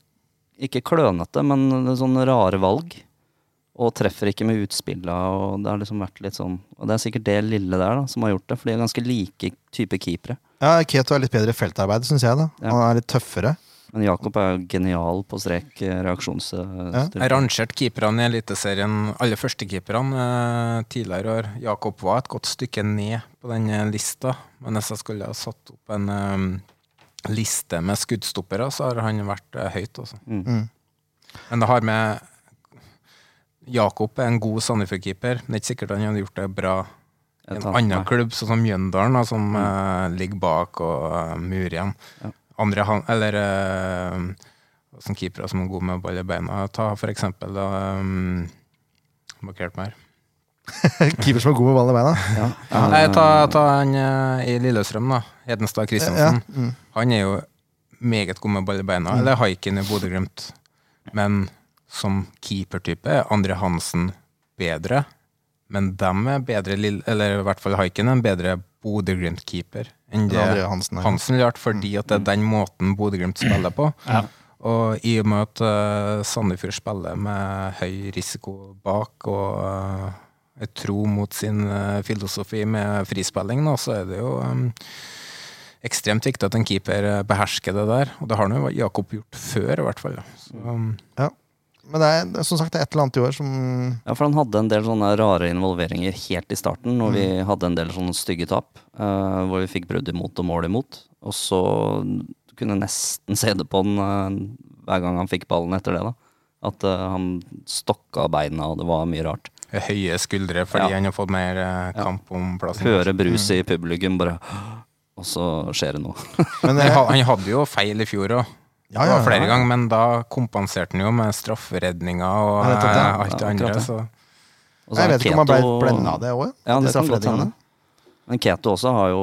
B: ikke klønete, men sånne rare valg. Og treffer ikke med utspilla, og det har liksom vært litt sånn Og det er sikkert det lille der da, som har gjort det, for de er ganske like type keepere.
A: Ja, Keto er litt bedre i feltarbeid, syns jeg. da.
B: Ja.
A: Han er litt tøffere.
B: Men Jakob er jo genial på strek eh,
D: Jeg
B: reaksjonsstyrke.
D: rangerte keeperne i Eliteserien, alle førstekeeperne, eh, tidligere i år. Jakob var et godt stykke ned på den eh, lista, men hvis jeg skulle ha satt opp en eh, liste med skuddstoppere, så har han vært eh, høyt, altså.
B: Mm.
A: Mm.
D: Men det har med Jakob er en god Sandefjord-keeper, men det er ikke sikkert han hadde gjort det bra i en annen klubb, sånn som Mjøndalen, da,
A: Mm.
D: som eh, ligger bak og eh, murer igjen.
B: Ja.
D: Andre han, eller eh, som keepere som er gode med ball i beina. Ta for eksempel um, Må ikke hjelpe meg her.
A: Keeper som er god med ball i beina.
B: Ja.
D: Nei, ta, ta han eh, i Lillestrøm, da.
A: Ja,
D: Hedenstad Kristiansen.
A: mm.
D: Han er jo meget god med ball i beina. Eller Haiken i Bodø-Glimt. Men som keepertype er Andre Hansen bedre. Men dem er bedre, Lill- eller i hvert fall Haiken er en bedre Bodø-Glimt-keeper enn
A: Det er
D: det
A: André Hansen. her.
D: Hansen lærte, fordi at det er den måten Bodø-Glimt spiller på. Og i og med at eh, Sandefjord spiller med høy risiko bak og eh, et tro mot sin eh, filosofi med frispilling, nå, så er det jo eh, ekstremt viktig at en keeper eh, behersker det der. Og det har nå Jakob gjort før, i hvert fall. Så, um,
A: Men det er det er som sagt det er et eller annet i år som
B: Ja, for han hadde en del sånne rare involveringer helt i starten, når vi
A: Mm.
B: hadde en del sånne stygge tap, eh, hvor vi fikk brudd imot og mål imot. Og så kunne jeg nesten se det på han eh, hver gang han fikk ballen etter det, da. At eh, han stokka beina, og det var mye rart.
D: eh, høye skuldre fordi
B: Ja.
D: han har fått mer eh, kamp om plassen.
B: Høre
A: Mm.
B: bruset i publikum, bare Og så skjer det noe.
A: men,
D: Men
A: eh,
D: han han hadde jo feil i fjor òg.
A: Ja,
D: det
A: ja,
D: var flere
A: ja.
D: ganger, men da kompenserte han jo med strafferedninger og
A: Ja, nettopp det.
D: eh, alt det
B: Ja, akkurat
D: andre.
B: det.
D: Så.
B: Og så
A: Jeg
B: er
A: vet ikke om han ble
B: Keto-
A: blenda av det òg.
B: Ja, det kan godt hende. Men Keto også har jo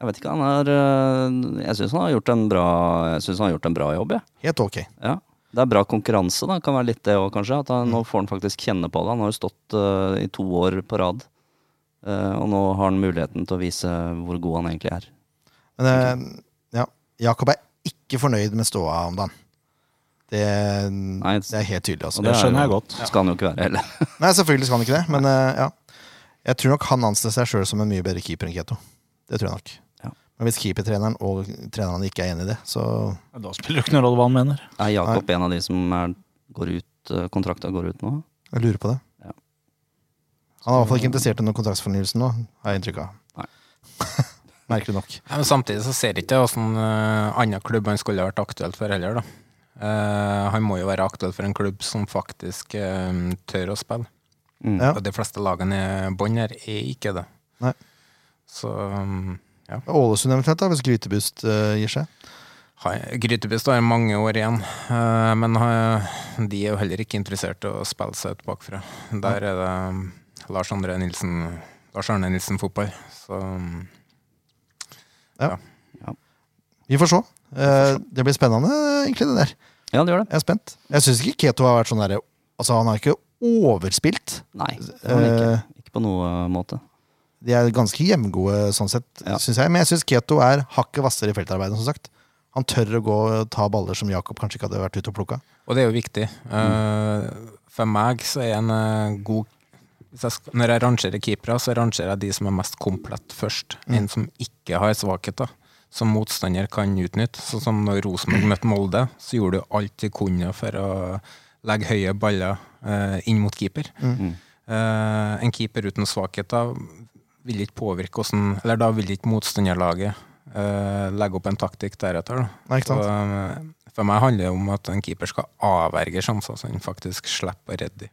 B: Jeg vet ikke, han er eh, Jeg syns han har gjort en bra Jeg synes han har gjort en bra jobb, jeg.
A: Helt ok.
B: Ja. Det er bra konkurranse, da. Kan være litt det òg, kanskje. At han, Nå får han faktisk kjenne på det. Han har jo stått eh, i to år på rad. Eh, og nå har han muligheten til å vise hvor god han egentlig er.
A: Men eh, ja, Jakob er ikke fornøyd med ståa om dagen. Det,
B: Nei,
A: det er helt tydelig. Altså.
B: og det er
C: skjønner jeg
B: jo-
C: godt.
B: Skal han jo ikke være heller.
A: Nei, selvfølgelig skal han ikke det, men eh, ja. Jeg tror nok han anser seg sjøl som en mye bedre keeper enn Keto. Det tror jeg nok.
B: Ja.
A: Men hvis keepertreneren og trenerne ikke er enig i det, så
C: Da spiller det ikke noen rolle hva han mener.
B: Er Jakob en av de som er, går ut, eh, kontrakta går ut nå?
A: jeg lurer på det.
B: Ja.
A: Han er i hvert fall ikke interessert i noen kontraktsfornyelse nå, har jeg inntrykk av.
B: Nei.
A: Merkelig nok.
D: Ja, men samtidig så ser jeg ikke åssen uh, annen klubb han skulle vært aktuelt for heller, da. Eh, han må jo være aktuell for en klubb som faktisk eh, tør å spille.
B: Mm.
A: Ja.
D: Og de fleste lagene i bånn her er ikke det.
A: Nei.
D: Så um,
A: Ålesund eventuelt, da, hvis Grytebust eh, gir seg.
D: han- Grytebust har mange år igjen, eh, men han- de er jo heller ikke interessert i å spille seg ut bakfra. Der er det um, Lars André Nilsen Lars Arne Nilsen fotball. Så um,
A: Vi får se. Eh, det blir spennende, egentlig, det der.
B: Ja, det gjør det.
A: Jeg er spent. Jeg syns ikke Keto har vært sånn derre Altså, han har ikke overspilt.
B: Nei, det er han
A: Eh.
B: ikke. Ikke på noen måte.
A: De er ganske jevngode, sånn sett,
B: Ja.
A: synes jeg. Men jeg syns Keto er hakket hvassere i feltarbeidet, som sagt. Han tør å gå og ta baller som Jakob kanskje ikke hadde vært ute og plukka.
D: Og det er jo viktig. Eh, for meg så er en eh, god hvis jeg, sk- Når jeg rangerer keepere, så rangerer jeg de som er mest komplett først. En som ikke har svakheter, som motstander kan utnytte. Sånn som når Rosenborg møtte Molde, så gjorde du alt de kunne for å legge høye baller eh, inn mot keeper. Eh, en keeper uten svakheter vil ikke påvirke hvordan Eller da vil ikke motstanderlaget eh, legge opp en taktikk deretter. Da.
A: Nei, ikke sant?
D: Så, eh, for meg handler det om at en keeper skal avverge sjanser, så han faktisk slipper å redde dem.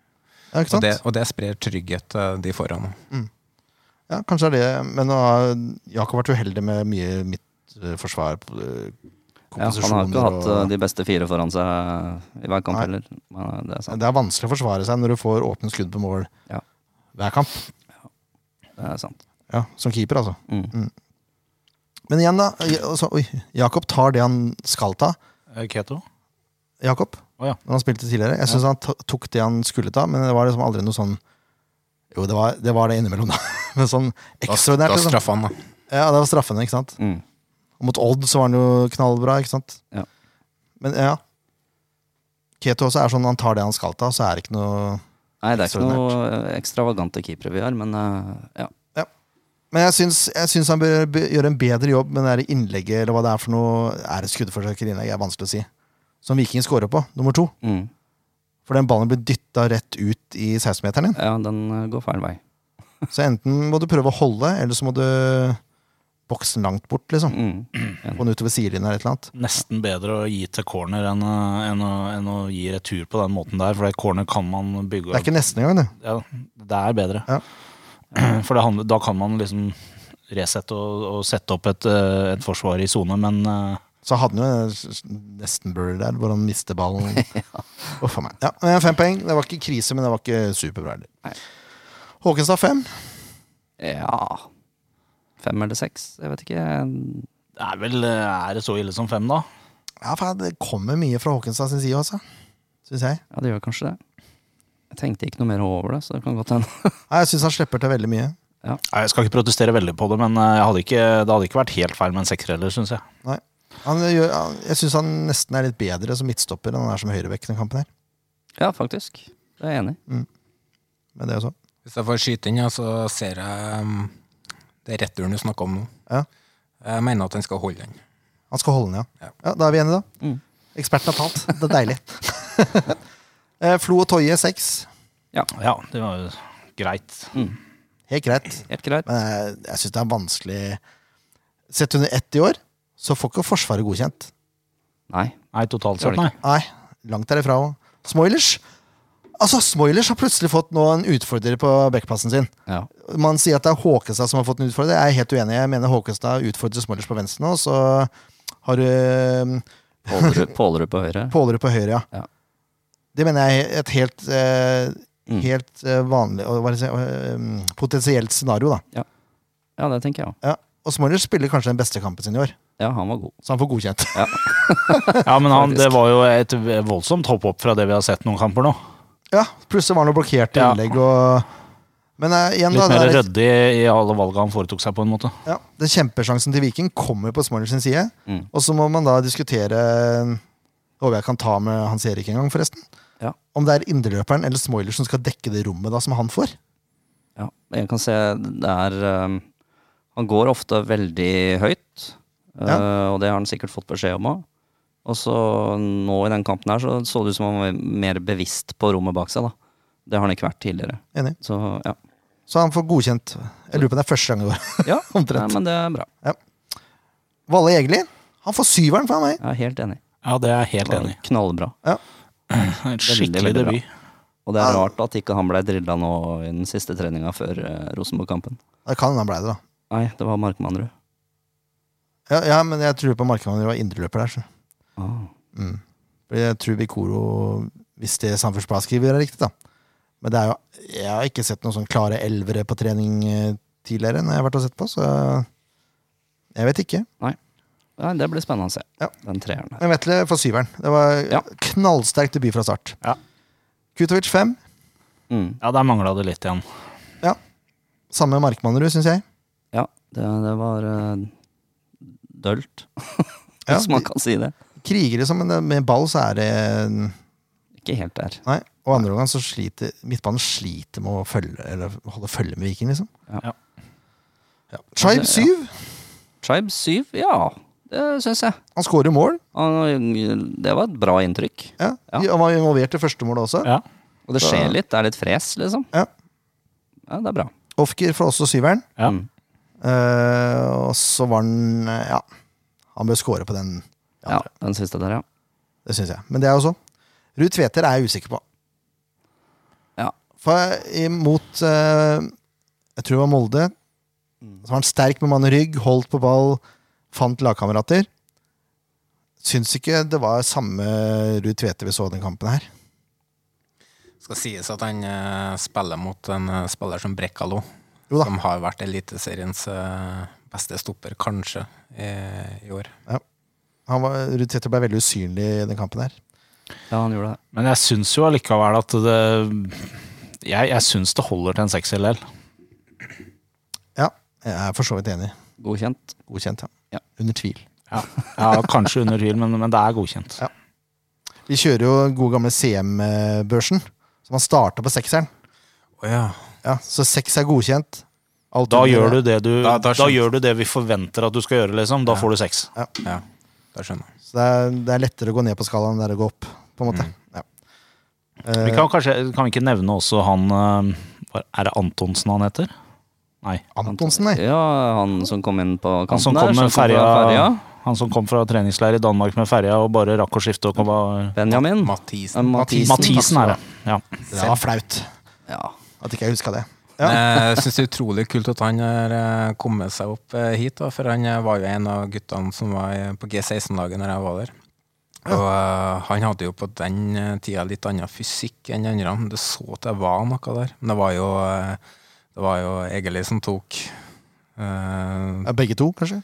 A: Ja, ikke sant?
D: Og, det- og det sprer trygghet til de foran.
A: Ja, kanskje det er det. Men nå har Jakob vært uheldig med mye mitt eh, forsvar. eh,
B: Ja, han har ikke
A: komposisjoner
B: hatt eh,
A: og-
B: de beste fire foran seg eh, i hver kamp
A: Nei.
B: heller. Men eh, det er sant.
A: Det er vanskelig å forsvare seg når du får åpne skudd på mål
B: Ja.
A: hver kamp.
B: Det er sant.
A: Ja, som keeper, altså.
B: Mm.
A: Men igjen, da. eh, altså, oi, Jakob tar det han skal ta.
C: Eh, Keto?
A: Jakob,
C: Å ja.
A: når han spilte tidligere. Jeg syns han to- tok det han skulle ta, men det var liksom aldri noe sånn Jo, det var det, var det innimellom, da. Men sånn
D: Da, da
A: ekstraordinært. Liksom.
D: straffer han, da.
A: Ja, det var straffende, ikke sant.
B: Mm.
A: Og mot Odd så var han jo knallbra, ikke sant.
B: Ja.
A: Men ja. Keto også er sånn, han tar det han skal ta, så er det ikke noe
B: Nei, det er ikke noe eh, ekstravagante keepere vi er, men eh, ja.
A: Men jeg syns, jeg syns han bør be- gjøre en bedre jobb med det der innlegget, eller hva det er for noe. Er det skuddforsøk eller innlegg? Det er vanskelig å si. Som Viking scorer på, nummer to.
B: Mm.
A: For den ballen blir dytta rett ut i 16-meteren din.
B: Ja, den eh, går feil vei.
A: Så enten må du prøve å holde, eller så må du bokse den langt bort, liksom.
B: Mm.
A: Få den utover sidelinja eller et eller annet.
C: Nesten bedre å gi til corner enn, eh, enn, å, enn å gi retur på den måten der, for det corner kan man bygge
A: Det er ikke nesten engang, det.
C: ja, det er bedre.
A: Ja.
C: For det handler, da kan man liksom resette og, og sette opp et, eh, et forsvar i sone, men eh,
A: Så hadde han jo en nesten burl der, hvor han mister ballen. Uff a meg. Ja, men fem poeng. Det var ikke krise, men det var ikke superbra
B: Nei.
A: heller. Håkenstad fem.
B: Ja Fem eller seks, jeg vet ikke.
C: det er vel eh, Er det så ille som fem, da?
A: Ja, faen, det kommer mye fra Håkenstad sin side, altså. Syns jeg.
B: Ja, det gjør kanskje det. Jeg tenkte ikke noe mer over det, så det kan godt hende.
A: Nei, jeg syns han slipper til veldig mye.
C: Nei, Jeg skal ikke protestere veldig på det, men eh, jeg hadde ikke, det hadde ikke vært helt feil med en sekser heller, syns jeg.
A: Nei. Han gjør, han, jeg syns han nesten er litt bedre som midtstopper enn han er som høyrebekk i den kampen her.
B: Ja, faktisk. Det er jeg enig i.
A: Men det er jo sånn.
D: mm, Hvis jeg får skyte inn, ja, så ser jeg um, det er returen du snakker om nå.
A: Ja.
D: Eh, Jeg mener at han skal holde den.
A: Han skal holde den, ja.
D: Ja.
A: ja da er vi enige, da.
B: Mm.
A: Eksperten har talt. Det er deilig. Eh, Flo og Toje, seks.
C: Ja, det var jo greit.
A: Helt greit.
B: Helt greit.
A: Men jeg, jeg syns det er vanskelig Sett under ett i år, så får ikke Forsvaret godkjent.
B: Nei.
C: Nei, totalt sett,
B: Det var
C: nei.
B: det
A: Nei, langt derifra òg. Smoilers! Altså, Smoilers har plutselig fått nå en utfordrer på backpassen sin.
B: Ja.
A: Man sier at det er Håkestad som har fått en utfordrer. Jeg er helt uenig. Jeg mener Håkestad utfordrer Smoilers på venstre nå, så har du eh,
B: Pålerud, Pålerud på høyre.
A: Pålerud på høyre, ja.
B: Ja.
A: Det mener jeg er et helt, eh,
B: Mm.
A: helt eh, vanlig og hva er det jeg sier, eh, potensielt scenario, da.
B: Ja, det tenker jeg òg.
A: Ja. Og Smoilers spiller kanskje den beste kampen sin i år,
B: Ja, han var god.
A: så han får godkjent.
C: Ja, men han,
B: Faktisk.
C: det var jo et voldsomt hopp opp fra det vi har sett noen kamper nå.
A: Ja, plutselig var det noe blokkert
C: Ja.
A: innlegg og Men eh, igjen, da.
C: Litt mer
A: det er-
C: ryddig i alle valga han foretok seg, på en måte.
A: Ja, den kjempesjansen til Viking kommer på Smoilers sin side.
B: Mm.
A: Og så må man da diskutere eh, Håper jeg kan ta med Hans Erik en gang, forresten.
B: Ja.
A: Om det er indreløperen eller Smoilers som skal dekke det rommet da som han får.
B: Ja, men jeg kan se det er um, Han går ofte veldig høyt, uh, og det har han sikkert fått beskjed om òg. Og så nå i den kampen her så så det ut som han var mer bevisst på rommet bak seg, da. Det har han ikke vært tidligere.
A: Enig.
B: Så ja.
A: Så han får godkjent. Jeg lurer på om det er første gang i år.
B: ja nei,
A: Omtrent.
B: men det er bra.
A: Valle Egeli han får syveren fra meg.
B: Jeg er helt enig.
C: Ja, det er jeg helt
B: Det var
C: enig i.
B: knallbra.
C: En
B: veldig
C: Skikkelig
B: bra.
C: debut.
B: Og det er rart at ikke han blei drilla nå i den siste treninga før eh, Rosenborg-kampen.
A: Det kan hende han blei det, da.
B: Nei, det var Markmannrud.
A: Ja, ja men jeg tror på Markmann var indreløper der. Så.
B: Ah.
A: Mm. Fordi Jeg tror Bikoro, hvis det Samferdselsbladet skriver, er riktig, da. Men det er jo, jeg har ikke sett noen sånn klare elvere på trening eh, tidligere, når jeg har vært og sett på, så jeg vet ikke.
B: Nei, det blir spennende å se,
A: Ja.
B: den treeren her.
A: Men Vetle får syveren. Det var
B: Ja.
A: knallsterk debut fra start.
C: Ja.
A: Kutovic fem.
B: Mm.
C: Ja, der mangla det litt igjen.
A: Samme Markmannerud, syns jeg.
B: Ja, det, det var eh, dølt,
A: Ja,
B: hvis man
A: de-
B: kan si det.
A: Krigere som men med ball, så er det
B: Ikke helt der.
A: Nei. Og andre omgang så sliter midtbanen sliter med å følge, eller holde følge med Viking, liksom.
B: Ja.
C: Ja.
A: Ja. Scheib
B: Altså, ja.
A: syv.
B: Tribe 7, ja. Det syns jeg.
A: Han skårer mål.
B: Han- Det var et bra inntrykk.
A: Ja.
B: Ja.
A: Han var involvert i første målet også.
C: Ja.
B: Og det skjer litt. Det er litt fres, liksom.
A: Ja.
B: Ja, det er bra.
A: Ofker får også syveren.
C: Ja.
B: Mm.
A: Eh, og så var han eh, Ja, han bør score på den.
B: Ja, den siste der, ja.
A: Det syns jeg. Men det er jo så. Ruud Tveter er jeg usikker på.
B: Ja.
A: For imot eh, Jeg tror det var Molde. Så var han sterk med mann i rygg, holdt på ball, fant lagkamerater. Syns ikke det var samme Ruud Tveter vi så den kampen her.
D: Skal sies at han eh, spiller mot en eh, spiller som Brekkalo,
A: Jo da.
D: som har vært Eliteseriens eh, beste stopper, kanskje, i, i år.
A: Han var, Ruud Tveter ble veldig usynlig i den kampen her.
B: Ja, han gjorde det.
C: Men jeg syns jo allikevel at det Jeg, jeg syns det holder til en sekser likevel.
A: Ja, jeg er for så vidt enig.
B: Godkjent.
A: Godkjent, ja.
B: Ja.
A: Under tvil.
C: Ja. ja, kanskje under tvil, men, men det er godkjent.
A: Ja. Vi kjører jo den gode gamle CM-børsen, så man starter på sekseren.
D: Å ja.
A: Ja, så seks er godkjent. Alt
C: Da
A: under-
C: gjør du det, du,
D: Da-
C: da,
D: da skjønner-
C: gjør du det vi forventer at du skal gjøre, liksom. Da får du seks.
D: ja. Da skjønner jeg.
A: Så det er, det er lettere å gå ned på skalaen enn det er å gå opp, på en måte.
B: Mm.
A: Ja. Eh,
C: Vi kan, kanskje, kan vi ikke nevne også han eh, hva- Er det Antonsen han heter? Nei.
A: Antonsen, nei.
B: Ja, han som kom inn på
C: Han som
B: kanten
C: kom
B: der. som
C: med
B: kom
C: ferja,
B: fra ferja.
C: Han som kom fra treningsleir i Danmark med ferja og bare rakk å skifte og kom av
B: Benjamin.
A: Mm.
B: Eh,
D: Mathisen.
B: Mathisen.
C: Mathisen er det. Ja.
A: Det var flaut
B: Ja.
A: at ikke jeg huska det.
D: Men eh, Jeg syns det er utrolig kult at han har eh, kommet seg opp eh, hit, da, for han eh, var jo en av guttene som var eh, på G16-laget når jeg var der. Og eh, han hadde jo på den eh, tida litt annen fysikk enn de andre. men Det så at det var noe der. Men det var jo, eh, det var jo Egeli som tok eh,
A: Ja, begge to, kanskje?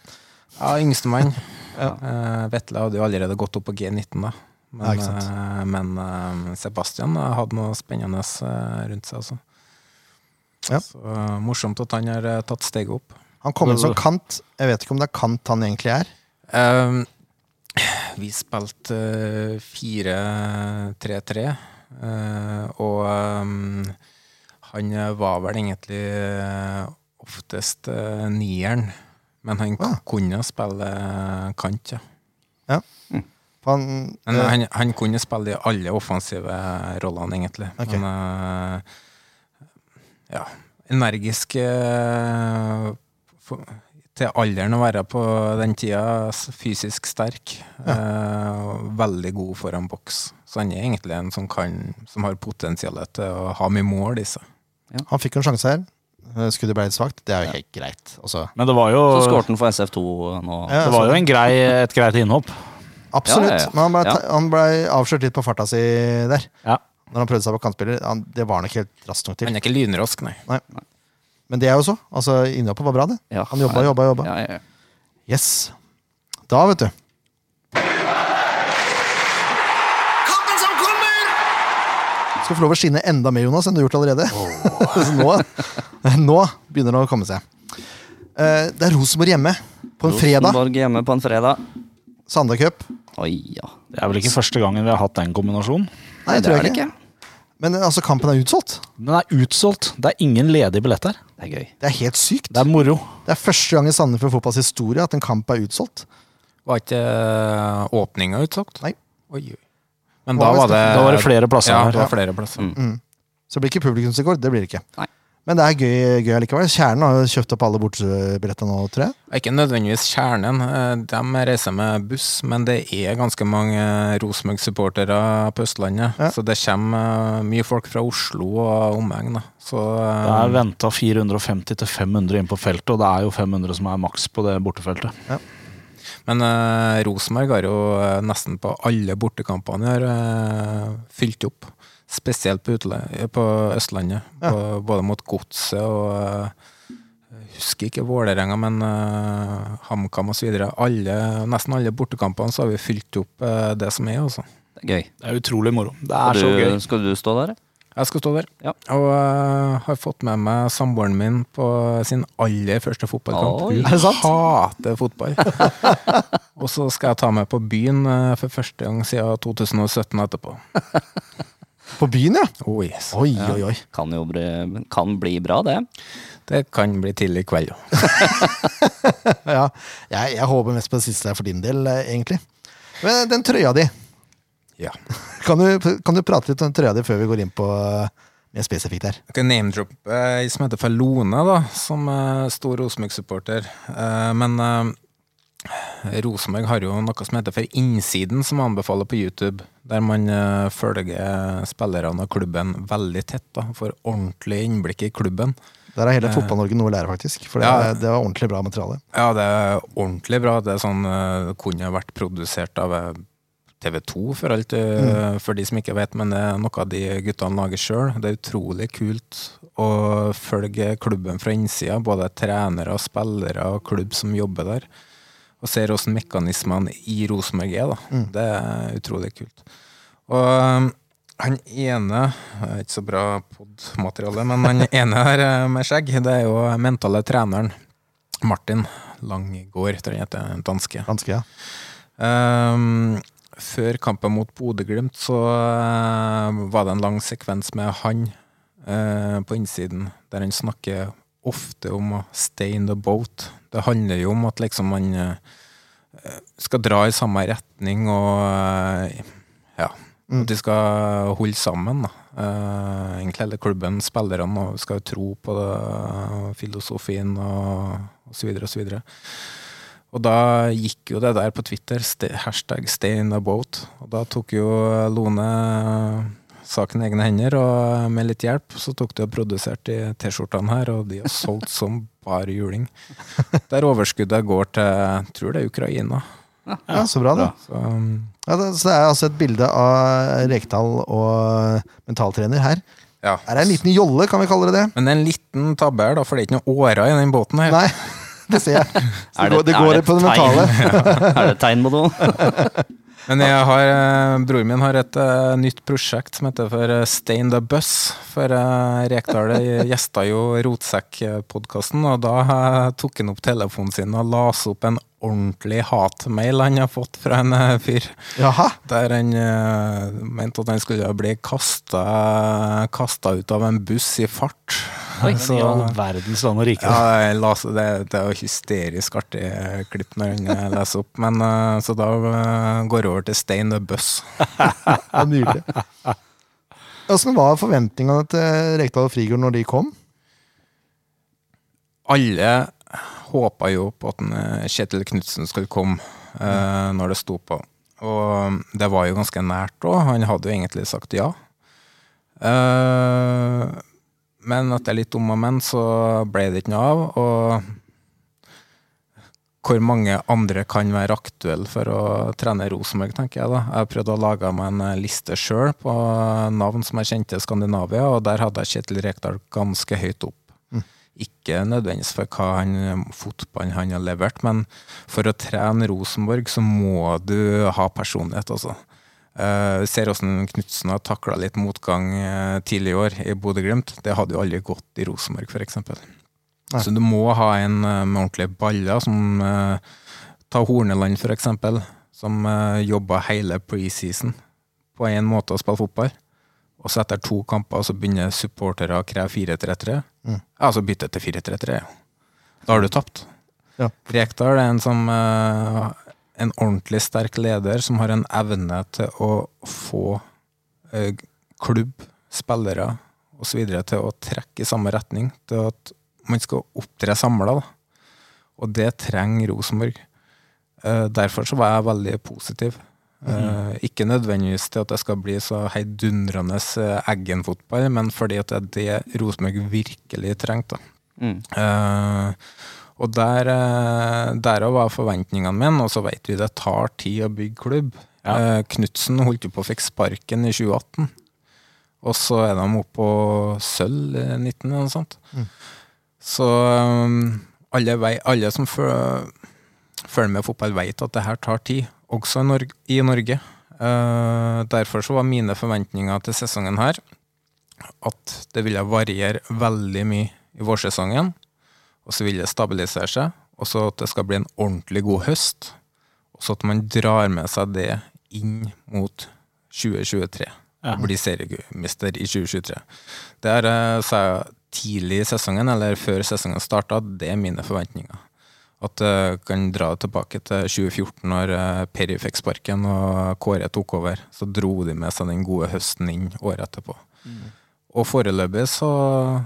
D: Ja, yngstemann.
A: Ja.
D: Eh, Vetle hadde jo allerede gått opp på G19, da.
A: Ja,
D: Men,
A: ikke sant.
D: eh, men eh, Sebastian eh, hadde noe spennende eh, rundt seg, altså.
A: Ja.
D: Så eh, morsomt at han har eh, tatt steget opp.
A: Han kom inn som kant. Jeg vet ikke om det er kant han egentlig er.
D: Ehm, vi spilte eh, 4-3-3, eh, og ehm, han eh, var vel egentlig eh, oftest eh, nieren, Men han
A: Ah.
D: kunne spille eh, kant, ja.
A: For Han,
D: Men
A: eh,
D: han, han kunne spille i alle offensive rollene, egentlig.
A: Ok.
D: Men eh, ja, energisk eh, for, til alderen å være på den tida, s- fysisk sterk. eh, og veldig god foran boks. Så han er egentlig en som, kan, som har potensialet til å ha mye mål i seg.
A: han fikk jo en sjanse her. Eh, Skuddet ble litt svakt. Det er jo helt greit. Altså,
C: Men det var jo,
B: Så skåret han for SF2 nå.
A: Ja,
C: det var
A: så-
C: jo en grei, et greit innhopp.
A: Absolutt.
B: Ja, ja, ja.
A: Men han ble,
B: Ja.
A: ta- han ble avslørt litt på farta si der.
C: Ja.
A: Når han prøvde seg på kantspiller. Han, det var han ikke helt raskt nok
D: Han
A: til.
D: er ikke lynrask, nei.
A: Men det er jo så. Altså, Innhoppet var bra, det.
B: Ja.
A: Han jobba, jobba, jobba.
B: Ja, ja, ja.
A: Yes. Da, vet du.
E: Kampen som kommer!
A: Skal få lov å skinne enda mer, Jonas, enn du har gjort allerede. Så nå, nå begynner det å komme seg. Eh, det er Rosenborg hjemme på en fredag.
B: Rosenborg hjemme på en fredag.
A: Sande Cup.
B: Oi, ja.
C: Det er vel ikke første gangen vi har hatt den kombinasjonen.
A: Nei, det tror
B: er
A: jeg ikke. Men eh, altså, kampen er utsolgt.
C: Den er utsolgt. Det er ingen ledige billetter.
B: Det er gøy.
A: Det er helt sykt.
C: Det er moro.
A: Det er første gang i Sandefjord fotballs historie at en kamp er utsolgt.
D: Var ikke eh, åpninga utsolgt?
A: Nei.
D: Oi, oi. Men
A: Hva
D: da
A: var
D: var det
C: Da var det flere plasser
D: Ja,
C: her.
D: det var flere plasser.
A: Så det blir ikke publikumsrekord. Det blir det ikke.
B: Nei.
A: Men det er gøy, gøy likevel. Kjernen har jo kjøpt opp alle bortebilletter nå, tror jeg.
D: Ikke nødvendigvis kjernen. eh, De reiser med buss, men det er ganske mange eh, Rosenborg-supportere på Østlandet.
A: Ja.
D: Så det kommer eh, mye folk fra Oslo og omegn. da. Så eh,
C: Det er venta 450-500 inn på feltet, og det er jo 500 som er maks på det bortefeltet.
D: Men eh, Rosenborg har jo eh, nesten på alle bortekampene i år eh, fylt opp. Spesielt på, utle eh, på Østlandet, på, både mot Godset og eh, jeg husker ikke Vålerenga, men eh, HamKam osv. Nesten alle bortekampene så har vi fylt opp eh, det som er. altså.
B: Det er gøy.
C: Det er utrolig moro. Det
B: Skal
C: er så
B: du-
C: gøy.
B: Skal du stå der?
D: Jeg skal stå der.
B: Ja.
D: Og eh, har fått med meg samboeren min på sin aller første fotballkamp.
B: Oi.
D: Hun
B: Er
D: hater fotball. og så skal jeg ta med på byen eh, for første gang siden 2017 etterpå.
A: På byen, ja.
D: Oh yes.
A: Oi, oi, oi.
B: Kan jo bli, kan bli bra, det.
D: Det kan bli tidlig i kveld jo.
A: Ja, jeg, jeg håper mest på det siste for din del, eh, egentlig. Men den trøya di.
D: Ja.
A: Kan du, kan du prate litt om den trøya di før vi går inn på eh, mer spesifikt her?
D: Jeg kan name-droppe ei eh, som heter Falone, da, som er stor Rosenborg-supporter. Eh, Men eh, Rosenborg har jo noe som heter For innsiden, som anbefaler på YouTube. Der man eh, følger spillerne og klubben veldig tett. da, Får ordentlig innblikk i klubben.
A: Der har hele Fotball-Norge noe å lære, faktisk. For det,
D: Ja.
A: det var ordentlig bra materiale.
D: Ja, det er ordentlig bra. Det er sånn eh, det kunne vært produsert av eh, TV 2, for alt eh, for de som ikke vet, men det er noe av de guttene lager sjøl. Det er utrolig kult å følge klubben fra innsida, både trenere og spillere og klubb som jobber der. Og ser åssen mekanismene i Rosenborg er. da. Det er utrolig kult. Og um, han ene det er Ikke så bra podmateriale, men han ene her eh, med skjegg, det er jo mentale treneren. Martin Langgaard, tror jeg heter, en danske.
A: Ganske, ja.
D: Ehm, før kampen mot Bodø-Glimt så eh, var det en lang sekvens med han eh, på innsiden, der han snakker ofte om å stay in the boat. Det handler jo om at liksom man eh, skal dra i samme retning og eh, ja, at de skal holde sammen. da. Eh, egentlig hele klubben, spillerne, og skal jo tro på det, og filosofien og, og så videre og så videre. Og da gikk jo det der på Twitter, ste- hashtag stay in the boat. Og da tok jo Lone eh, saken i egne hender, og med litt hjelp så tok de og produserte de T-skjortene her, og de har solgt som bare juling. Der overskuddet går til, jeg tror det er Ukraina.
A: ja. Så bra, det.
D: Så, um,
A: Ja, det. Så det er altså et bilde av Rekdal og eh, mentaltrener her.
D: ja.
A: Er det en liten jolle, kan vi kalle det det?
D: Men det er en liten tabbe her, da, for det er ikke noe årer i den båten her.
A: Nei, det ser jeg. Så
B: Er
A: det, går- det går
B: er
A: litt på det
B: et tegn?
A: mentale.
B: er det et tegn på noe?
D: Men jeg har, eh, broren min har et eh, nytt prosjekt som heter for eh, Stay in the Bus. For eh, Rekdal gjesta jo Rotsekk-podkasten, og da eh, tok han opp telefonen sin og las opp en ordentlig hatmail han har fått fra en eh, fyr.
A: Jaha.
D: Der han eh, mente at han skulle bli kasta, kasta ut av en buss i fart.
B: Oi.
C: Men i all verdens land og rike.
D: Ja, jeg las, det, det er jo hysterisk artig eh, klipp når han eh, leser opp. Men, eh, så da eh, går det over til Stein the Buss.
A: Ja, nydelig. Åssen var forventningene til Rekdal og Frigård når de kom?
D: Alle håpa jo på at en, eh, Kjetil Knutsen skulle komme eh, når det sto på. Og det var jo ganske nært òg. Han hadde jo egentlig sagt ja. Eh, men etter litt om og men, så ble det ikke noe av. Og hvor mange andre kan være aktuelle for å trene Rosenborg, tenker jeg da. Jeg prøvde å lage meg en eh, liste sjøl på navn som jeg kjente i Skandinavia, og der hadde jeg Kjetil Rekdal ganske høyt opp. Ikke nødvendigvis for hva han, fotballen han har levert, men for å trene Rosenborg så må du ha personlighet, altså. Eh, Vi ser hvordan Knutsen har takla litt motgang eh, tidligere i år i Bodø-Glimt. Det hadde jo aldri gått i Rosenborg, f.eks.
A: Nei.
D: Så du må ha en eh, med ordentlige baller, som eh, ta Horneland, f.eks., som eh, jobba hele preseason på én måte å spille fotball. Og så etter to kamper så begynner supportere å kreve 4-3-3.
A: Mm.
D: Ja, så bytte til 4-3-3. ja. Da har du tapt.
A: Ja.
D: Rekdal er en som eh, en ordentlig sterk leder som har en evne til å få eh, klubb, spillere osv. til å trekke i samme retning. Til at man skal opptre samla. Og det trenger Rosenborg. Eh, derfor så var jeg veldig positiv. Eh, ikke nødvendigvis til at det skal bli så heidundrende eh, Eggen-fotball, men fordi at det er det Rosenborg virkelig trengte. da.
B: Mm.
D: Eh, og der, eh, derav var forventningene mine, og så vet vi det tar tid å bygge klubb. Ja. Knutsen holdt jo på å fikk sparken i 2018, og så er de oppe på sølv i 19 eller noe sånt. Så eh, alle, vei, alle som føl- følger med fotball, vet at det her tar tid, også i Norge. I Norge. Eh, derfor så var mine forventninger til sesongen her at det ville variere veldig mye i vårsesongen og så vil det stabilisere seg, og så at det skal bli en ordentlig god høst, og så at man drar med seg det inn mot 2023.
C: Ja.
D: Blir seriemester i 2023. Det er, eh, sa jeg tidlig i sesongen, eller før sesongen starta, det er mine forventninger. At jeg kan dra tilbake til 2014, når eh, Perry fikk sparken og Kåre tok over. Så dro de med seg den gode høsten inn året etterpå. Og foreløpig så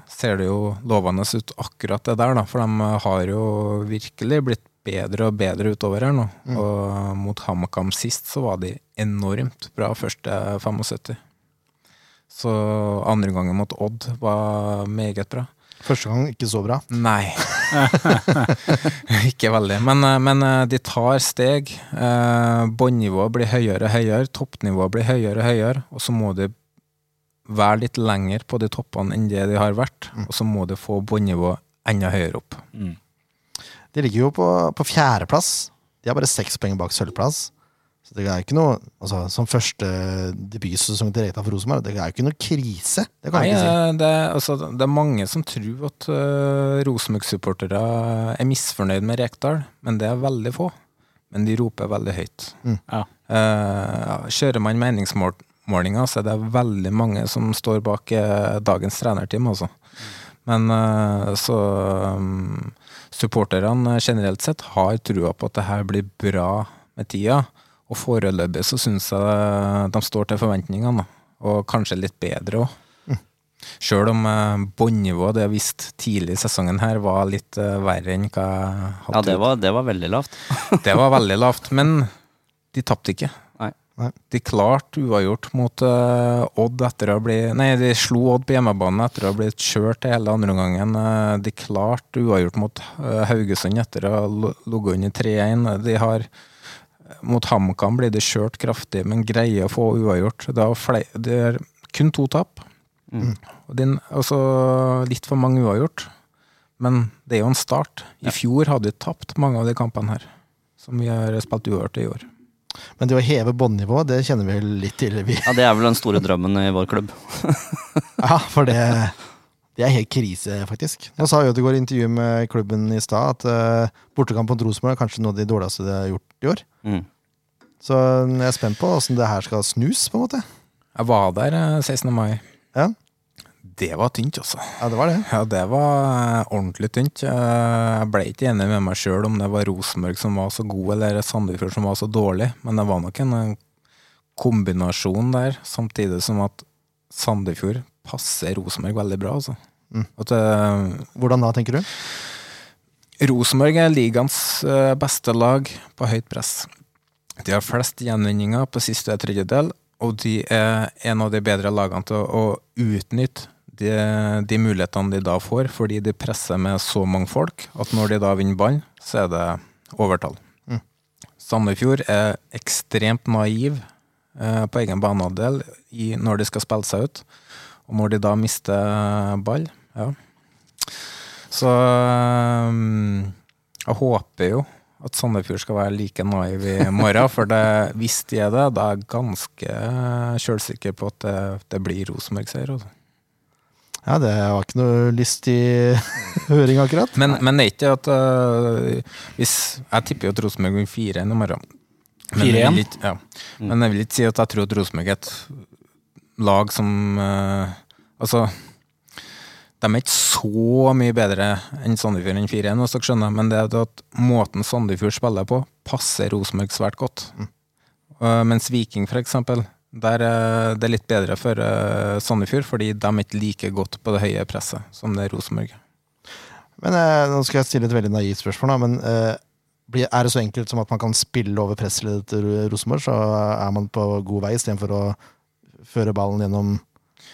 D: ser det jo lovende ut akkurat det der, da. For de har jo virkelig blitt bedre og bedre utover her nå. Og mot HamKam sist så var de enormt bra første 75. Så andre gangen mot Odd var meget bra.
A: Første gang ikke så bra.
D: Nei. ikke veldig. Men, eh, men eh, de tar steg. Eh, Båndnivået blir høyere og høyere, toppnivået blir høyere og høyere, og så må de være litt lenger på de toppene enn det de har vært,
A: Mm.
D: og så må de få båndnivået enda høyere opp.
A: De ligger jo på, på fjerdeplass. De har bare seks poeng bak sølvplass. Så det er ikke noe altså, Som første debutsesong til Rekdal for Rosenborg, det er jo ikke noe krise. Det kan
D: Nei,
A: jeg ikke si.
D: eh, det, er- altså, det er mange som tror at eh, Rosenborg-supportere er misfornøyd med Rekdal, men det er veldig få. Men de roper veldig høyt.
C: Ja.
D: Eh, kjører man meningsmålinger, så er det veldig mange som står bak eh, dagens trenerteam, altså. Men eh, så um, Supporterne generelt sett har trua på at det her blir bra med tida. Og foreløpig så syns jeg eh, de står til forventningene, da. og kanskje litt bedre òg. Sjøl om eh, båndnivået det jeg visste tidlig i sesongen her, var litt eh, verre enn hva jeg hadde
B: Ja, det
D: trodd.
B: var, det var veldig lavt.
D: Det var veldig lavt, men de tapte ikke.
B: Nei.
A: Nei.
D: De klarte uavgjort mot eh, Odd etter å bli Nei, de slo Odd på hjemmebane etter å ha blitt kjørt i hele andre omgangen. Eh, de klarte uavgjort mot eh, Haugesund etter å ha lo- ligget under 3-1. De har Mot HamKam blir de kjørt kraftig, men greier å få uavgjort. Det er, fle- det er kun to tap. Og din, altså, litt for mange uavgjort. Men det er jo en start. I fjor hadde vi tapt mange av de kampene her. Som vi har spilt uavgjort i år.
A: Men det å heve båndnivået, det kjenner vi litt til, vi.
B: Ja, Det er vel den store drømmen i vår klubb.
A: Ja, for det, det er helt krise, faktisk. Nå sa Ødegaard i intervju med klubben i stad at eh, bortekamp mot Rosenborg er kanskje noe av de dårligste de har gjort i år.
B: Mm.
A: Så jeg er spent på åssen det her skal snus, på en måte.
D: Jeg var der eh, 16. mai.
A: Ja.
D: Det var tynt, altså.
A: Ja, det var det.
D: Ja, det var eh, ordentlig tynt. Eh, Jeg ble ikke enig med meg sjøl om det var Rosenborg som var så god, eller Sandefjord som var så dårlig, men det var nok en eh, kombinasjon der, samtidig som at Sandefjord passer Rosenborg veldig bra, altså. At eh,
A: Hvordan da, tenker du?
D: Rosenborg er ligaens eh, beste lag på høyt press. De har flest gjenvinninger på siste tredjedel, og de er en av de bedre lagene til å, å utnytte de, de mulighetene de da får, fordi de presser med så mange folk at når de da vinner ball, så er det overtall. Sandefjord er ekstremt naiv eh, på egen banehalvdel i- når de skal spille seg ut, og når de da mister ball. Ja. Så um, jeg håper jo at Sandefjord skal være like naiv i morgen, for det, hvis de er det, da er jeg ganske kjølsikker på at det, det blir Rosenborg-seier. altså.
A: Ja, Det var ikke noe lystig høring, akkurat.
D: Men, men det er ikke at øh, hvis, Jeg tipper jo at Rosenborg vinner 4-1 i morgen. Men jeg
C: 4-1?
D: vil ikke- Ja. Men jeg vil ikke si at jeg tror at Rosenborg er et lag som øh, Altså De er ikke så mye bedre enn Sandefjord enn 4-1, hvis dere skjønner, men det er det at måten Sandefjord spiller på, passer Rosenborg svært godt. Øh, mens Viking, for eksempel, der øh, det er litt bedre for øh, Sandefjord, fordi de er ikke like godt på det høye presset som det er Rosenborg.
A: Men eh, Nå skal jeg stille et veldig naivt spørsmål, da, men eh, blir- er det så enkelt som at man kan spille over pressledet til Ro- Rosenborg, så er man på god vei istedenfor å føre ballen gjennom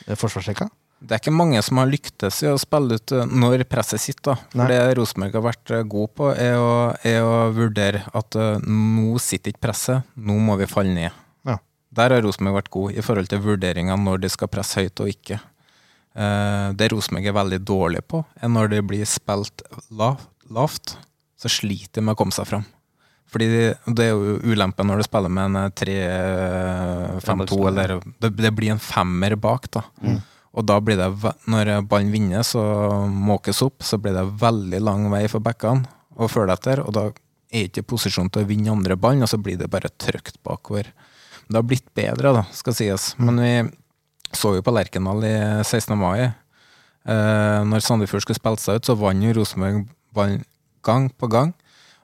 A: eh, forsvarsrekka?
D: Det er ikke mange som har lyktes i å spille ut eh, når presset sitter. da.
A: Nei.
D: For det Rosenborg har vært eh, god på, er å, er å vurdere at eh, nå sitter ikke presset, nå må vi falle ned.
A: Ja.
D: Der har Rosenborg vært god i forhold til vurderinga når de skal presse høyt og ikke. Eh, Det Rosenborg er veldig dårlig på, er når de blir spilt lav, lavt, så sliter de med å komme seg fram. Fordi det er jo ulempen når du spiller med en eh, 3-5-2,
B: Trebakspiller.
D: eller det, det blir en femmer bak, da. Og da blir det, ve- når ballen vinner, så måkes opp, så blir det veldig lang vei for backene å følge etter, og da er ikke i posisjon til å vinne andre ballen, og så blir det bare trøkt bakover. Det har blitt bedre, da, skal sies. Men vi så jo på Lerkendal i 16. mai. Eh, når Sandefjord skulle spille seg ut, så vant jo Rosenborg ballen gang på gang.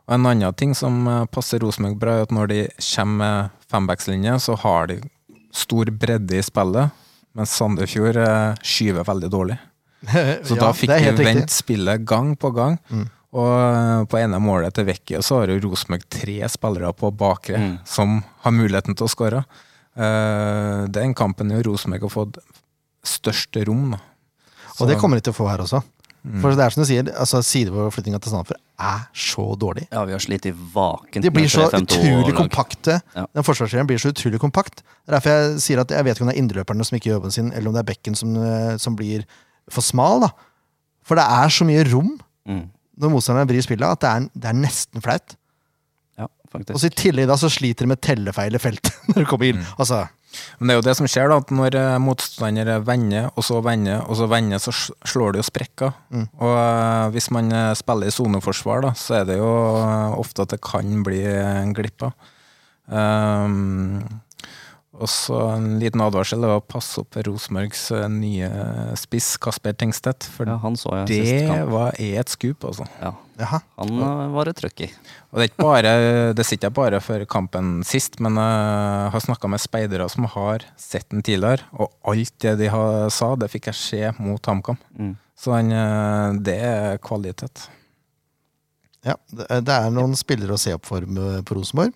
D: Og en annen ting som eh, passer Rosenborg bra, er at når de kommer med fembackslinje, så har de stor bredde i spillet, mens Sandefjord eh, skyver veldig dårlig. Så da fikk
A: det er
D: vi
A: helt
D: vendt
A: riktig. Mm.
D: spillet gang på gang. Og eh, på ene målet til Vecchio så har jo Rosenborg tre spillere på bakre som har muligheten til å skåre. Eh, den kampen har jo Rosenborg har fått størst rom. Da. Så-
A: Og det kommer de til å få her også. For det er som du sier, altså sideoverflyttinga til Sandefjord er så dårlig.
B: Ja, vi har slitt i vaken.
A: De blir
B: med
A: så
B: 3-5-2
A: utrolig
B: lag.
A: kompakte.
B: Ja.
A: Den forsvarsserien blir så utrolig kompakt. Det er derfor jeg sier at jeg vet ikke om det er indreløperne som ikke gjør jobben sin, eller om det er bekken som, eh, som blir for smal. da. For det er så mye rom
B: Mm.
A: når motstanderen vrir spillet, at det er, det er nesten flaut.
B: Ja, faktisk.
A: Og så I tillegg da så sliter de med tellefeil i feltet når det kommer inn. Altså,
D: Men det er jo det som skjer, da, at når eh, motstandere vender, og så vender, og så vender, så s- slår det jo sprekker.
B: Mm.
D: Og eh, hvis man eh, spiller i soneforsvar, da, så er det jo eh, ofte at det kan bli en glipper. Um, og så en liten advarsel er å passe opp for Rosenborgs eh, nye spiss, Kasper Tengstedt. For
B: Ja, han så jeg sist
D: det
B: kamp.
D: var, er et skup, altså.
B: Ja.
A: jaha.
B: Han eh, var et trøkk i.
D: Og det er ikke bare, det sitter jeg bare for kampen sist, men jeg har snakka med speidere som har sett den tidligere, og alt det de har, sa, det fikk jeg se mot HamKam. Så han, eh, det er kvalitet.
A: Ja, det eh, det er noen spillere å se opp for med- på Rosenborg.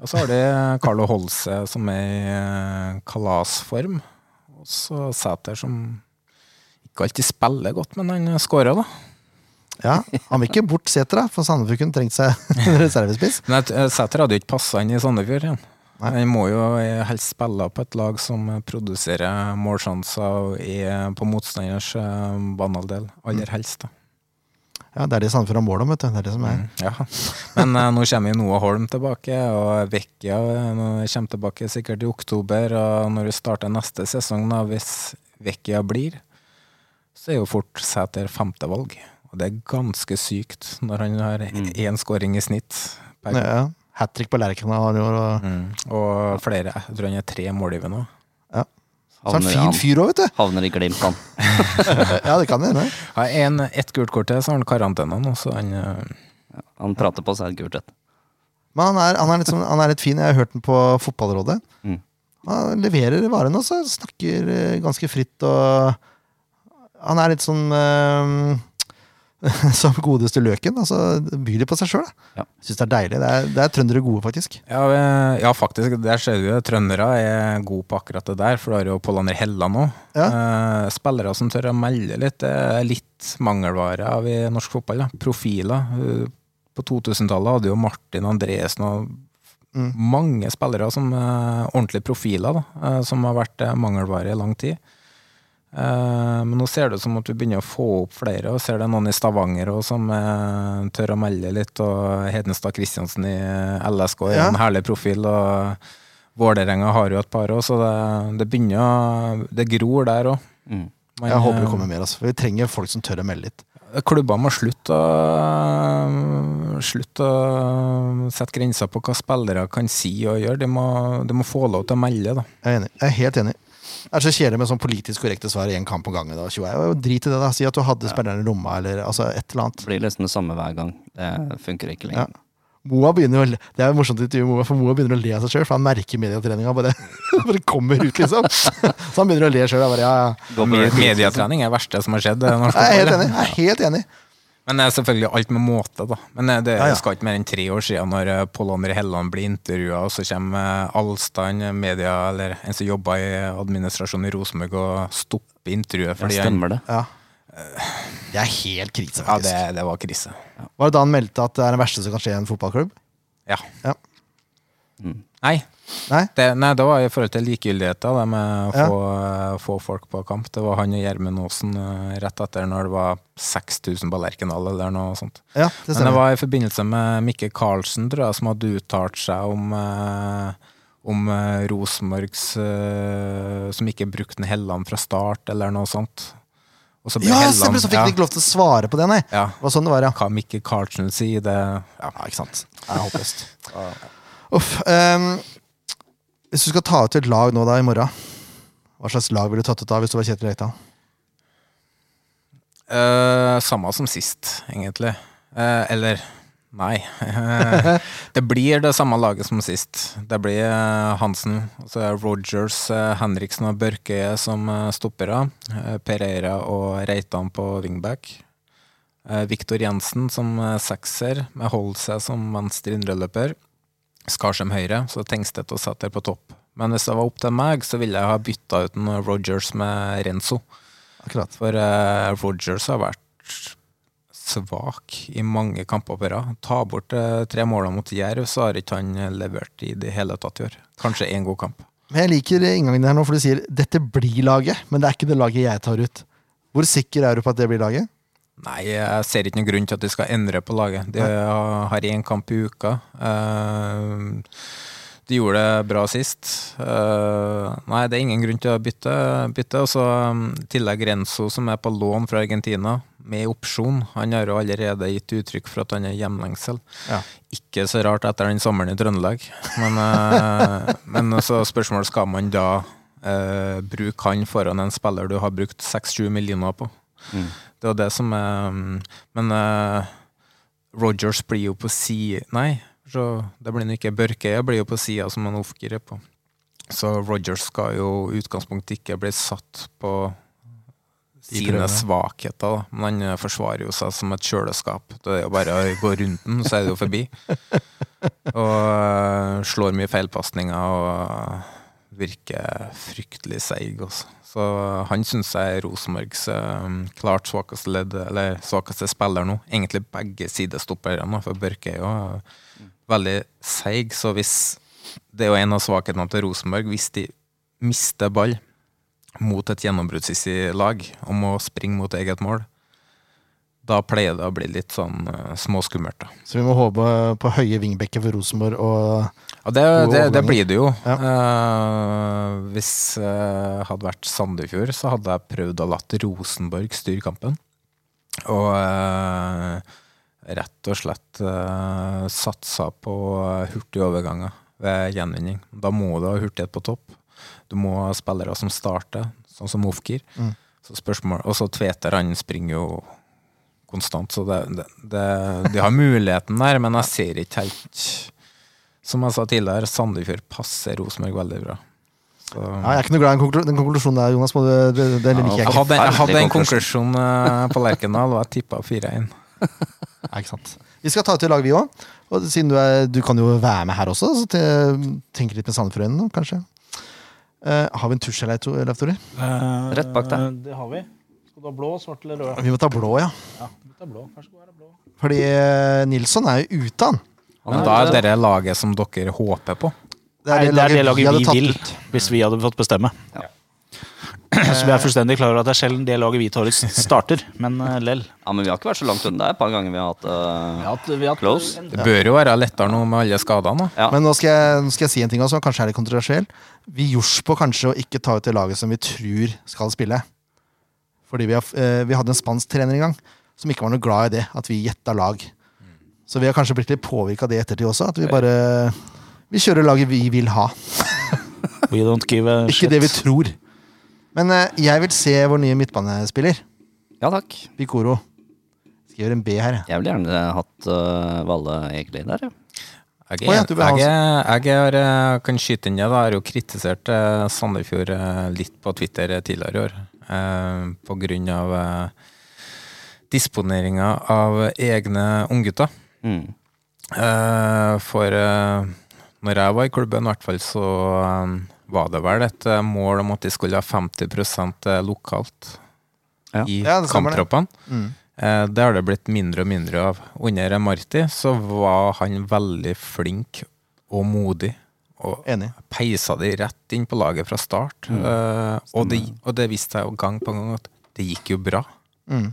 D: Og så har de Carlo Holse som er i eh, kalasform, og så Sæter som ikke alltid spiller godt, men han skårer, da.
A: Ja, Han vil ikke bort Sæter, da, for Sandefjord kunne trengt seg en reservespiss.
D: Men at, eh, Sæter hadde jo ikke passa inn i Sandefjord igjen.
A: Nei.
D: Han må jo eh, helst spille på et lag som eh, produserer målsjanser og er på motstanders eh, banehalvdel.
A: Mm.
D: Aller helst, da.
A: Ja, Det er det Sandefjord har mål om. vet du. Det er det som er.
D: Ja. Men eh, nå kommer jo Noah Holm tilbake, og Vecchia eh, nå kommer tilbake sikkert i oktober. Og når vi starter neste sesong, da, hvis Vecchia blir, så er jo fort Sæter femtevalg. Og det er ganske sykt når han har én skåring i snitt per
A: Mm. Ja, ja. Hat trick på Lerkendal i år. Og,
D: Mm. Og flere, jeg tror han er tre målgivende.
A: Ja. Så
D: Så
A: er han
B: Havner i
A: fin
B: han.
A: fyr òg, vet du.
B: Havner i Glimt, han.
A: Ja, det kan hende.
D: Har jeg en, ett gult kort til, så har han karantene nå, så han eh,
B: Han prater på seg et gult et.
A: Men han er, han, er litt sånn, han er litt fin. Jeg har hørt den på Fotballrådet.
B: Mm.
A: Han leverer varene også. Snakker eh, ganske fritt og Han er litt sånn eh, som godeste løken. Altså, byr litt på seg sjøl.
B: Ja.
A: Syns det er deilig. Det er, det er trøndere gode, faktisk.
D: Ja, vi- ja, faktisk. Der ser du det. Trøndere er gode på akkurat det der, for du har jo Pålander Helland òg. Eh, spillere som tør å melde litt. Det er litt mangelvare av i norsk fotball. Da. Profiler. Eh, På 2000-tallet hadde jo Martin Andresen og
A: Mm.
D: mange spillere som eh, ordentlige profiler, da, eh, som har vært eh, mangelvare i lang tid. Eh, Men nå ser det ut som at vi begynner å få opp flere, og ser det er noen i Stavanger også, som eh, tør å melde litt. Og Hedenstad Kristiansen i eh, LSK er
A: Ja.
D: en herlig profil. og Vålerenga har jo et par òg, så det, det begynner å- Det gror der eh, òg.
B: Mm.
A: Jeg håper det kommer mer. Altså. Vi trenger folk som tør å melde litt.
D: Klubber må slutte å, slutte å sette grenser på hva spillere kan si og gjøre. De må, de må få lov til å melde, da.
A: Jeg er, enig. Jeg er helt enig. Det er så kjedelig med sånn politisk korrekte svar i en kamp om gangen. Da. Tjo, jeg- Drit i det, da. Si at du hadde spilleren i lomma, eller altså, et eller annet.
B: Det blir liksom det samme hver gang. Det funker ikke lenger.
A: Moa begynner å le. Det er jo morsomt å intervjue Moa, for Moa begynner å le av seg sjøl, for han merker medietreninga bare, bare kommer ut, liksom. Så han begynner å le sjøl. Ja, ja.
B: Gå på YouTube. liksom.
D: Medietrening er det verste som har skjedd. i norsk
A: Jeg er helt
D: fotball, ja.
A: enig. Jeg er helt enig.
D: Men det er selvfølgelig alt med måte, da. Men eh, det
A: Ja, ja.
D: skal ikke mer enn tre år siden når eh, Pål André Helland blir intervjua, og så kommer eh, Alstein, eh, media, eller en som jobba i administrasjonen i Rosenborg, og stopper intervjuet
B: Ja,
D: fordi han
B: stemmer det.
A: Ja.
D: Eh,
A: Det er helt krise,
D: Ja, det,
A: faktisk.
D: det var krise.
A: Var det da han meldte at det er det verste som kan skje i en fotballklubb?
D: Ja.
A: Ja.
B: Mm.
D: Nei.
A: Nei?
D: Det, nei, det var i forhold til likegyldigheta, det med å
A: Ja.
D: få, eh, få folk på kamp. Det var han og Gjermund Aasen eh, rett etter når det var 6000 på Lerkendal, eller noe sånt.
A: Ja, det
D: Men det
A: stemmer.
D: var i forbindelse med Mikke Karlsen, tror jeg, som hadde uttalt seg om, eh, om eh, Rosenborgs eh, Som ikke brukte en Helland fra start, eller noe sånt. Og så ble
A: Ja,
D: Helland
A: stemmer, så fikk
D: ja,
A: de ikke lov til å svare på det, nei.
D: ja.
A: Det var sånn det var, ja.
D: Hva Mikke Karlsen sier, det ja.
A: Ja, ikke sant. Det er håpløst. Uff. ehm, hvis du skal ta ut et lag nå da i morgen, hva slags lag ville du tatt ut av hvis du var Kjetil Rekdal?
D: Eh, Samme som sist, egentlig. Eh, eller Nei. Eh, det blir det samme laget som sist. Det blir eh, Hansen, og så er Rogers, eh, Henriksen og Børke som eh, stoppere. Eh, Per Eira og Reitan på wingback. Eh, Viktor Jensen som eh, sekser, med Holse som venstre indreløper. Skarsheim høyre, så Tengstedt og Sæter på topp. Men hvis det var opp til meg, så ville jeg ha bytta ut en Rogers med Renzo.
A: Akkurat.
D: For eh, Rogers har vært svak i mange kamper på rad. Ta bort eh, tre målene mot Jerv, så har ikke han levert i det hele tatt i år. Kanskje én god kamp.
A: Men jeg liker inngangen her nå, for du sier 'dette blir laget', men det er ikke det laget jeg tar ut. Hvor sikker er du på at det blir laget?
D: Nei, jeg ser ikke noen grunn til at de skal endre på laget. De har har én kamp i uka. Eh, De gjorde det bra sist. Eh, Nei, det er ingen grunn til å bytte. bytte. Og så um, i tillegg Renzo, som er på lån fra Argentina, med opsjon. Han har jo allerede gitt uttrykk for at han er hjemlengsel.
A: Ja.
D: Ikke så rart etter den sommeren i Trøndelag. Men, eh, men så spørsmålet skal man da eh, bruke han foran en spiller du har brukt 6-7 millioner på. Det var det som er mm, Men eh, Rogers blir jo på si... Nei, så det blir han ikke. Børkeøya blir jo på sida som han oppgirer på. Så Rogers skal jo i utgangspunktet ikke bli satt på sine
A: prøvene.
D: svakheter, da. men han eh, forsvarer jo seg som et kjøleskap. Det er jo bare å gå rundt den, så er det jo forbi. Og eh, slår mye feilpasninger og virker fryktelig seig, altså. Så han syns jeg er Rosenborgs eh, klart svakeste ledd, eller svakeste spiller nå. Egentlig begge sidestopperne, for Børke er jo eh, veldig seig. Så hvis Det er jo en av svakhetene til Rosenborg. Hvis de mister ball mot et gjennombruddssissig lag om å springe mot eget mål, da pleier det å bli litt sånn eh, småskummelt, da.
A: Så vi må håpe på høye vingbekker for Rosenborg og
D: Ja, det,
A: Gode
D: det, det
A: overganger.
D: blir det jo. Eh, hvis det hadde vært Sandefjord, så hadde jeg prøvd å latt Rosenborg styre kampen. Og eh, rett og slett eh, satsa på hurtige overganger ved gjenvinning. Da må du ha hurtighet på topp. Du må ha spillere som starter, sånn som Ofkir. Så spørsmål, og så Tveter, han springer jo konstant, så det, det, det, de har muligheten der, men jeg ser ikke helt Som jeg sa tidligere, Sandefjord passer Rosenborg veldig bra. Så,
A: Ja, jeg er ikke noe glad i den konklu- den konklusjonen der, Jonas. må du- Det, det, det liker jeg
D: jeg
A: ikke.
D: hadde, jeg hadde en
B: Forferdelig
D: konklusjon eh, på Lerkendal, og jeg tippa 4-1.
A: Nei, ikke sant. Vi skal ta ut i lag, vi òg. Og siden du, er, du kan jo være med her også, så te, tenk litt med Sandefjord-øynene, kanskje. Eh, har vi en tusj eller to, Leif Tore?
B: Rett bak deg.
F: Det har vi. Skal du ha blå, svart eller rød?
A: Vi må ta blå, ja.
F: Ja, det er blå. Vær så god, her er blå.
A: Fordi eh, Nilsson er jo ute, han.
B: Han
D: Men
B: er
D: da er
B: ute.
D: dere laget som dere håper på.
A: er
C: Nei, det er det laget
A: hadde
C: vi,
A: tatt
C: vil,
A: ut.
C: hvis vi hadde fått bestemme. Så vi er fullstendig klar over at det er sjelden det laget vi tar ut, starter, men eh, lell.
B: Ja, men vi har ikke vært så langt unna. Det er et par ganger vi har hatt eh,
F: Vi har hatt- vi har hatt
B: Close.
F: en-
D: Det bør jo være lettere nå med alle skadene. da.
B: Ja.
A: Men nå skal, jeg, nå skal jeg si en ting også, kanskje er det kontroversiell. Vi gjorde på kanskje å ikke ta ut det laget som vi tror skal spille. Fordi vi, har, eh, vi hadde en spansk trener en gang som ikke var noe glad i det, at vi gjetta lag. Så vi har kanskje blitt litt påvirka av det i ettertid også, at vi bare Vi kjører laget vi vil ha,
C: We don't give a
A: ikke
C: shit.
A: det vi tror. Men eh, jeg vil se vår nye midtbanespiller,
B: ja takk.
A: Bikoro. Skriver en B her, jeg.
B: Jeg ville gjerne hatt eh, Valle egentlig der, ja.
A: Å
D: Jeg, er-
A: ja, du vil ha
D: jeg, er- jeg er, eh, kan skyte inn det. da. Jeg har jo kritisert eh, Sandefjord eh, litt på Twitter eh, tidligere i år. eh, På grunn av eh, disponeringa av egne unggutter.
B: Mm.
D: Eh, For eh, når jeg var i klubben, i hvert fall, så eh, var det vel et eh, mål om at de skulle ha 50 lokalt
B: Ja.
D: i
A: Ja, det stemmer det.
D: kamptroppene.
A: Mm.
D: Eh, Det har det blitt mindre og mindre av. Under Marti så var han veldig flink og modig. Og
A: Enig.
D: peisa de rett inn på laget fra start. Eh, og, det, og det viste seg jo gang på gang at det gikk jo bra.
A: Mm.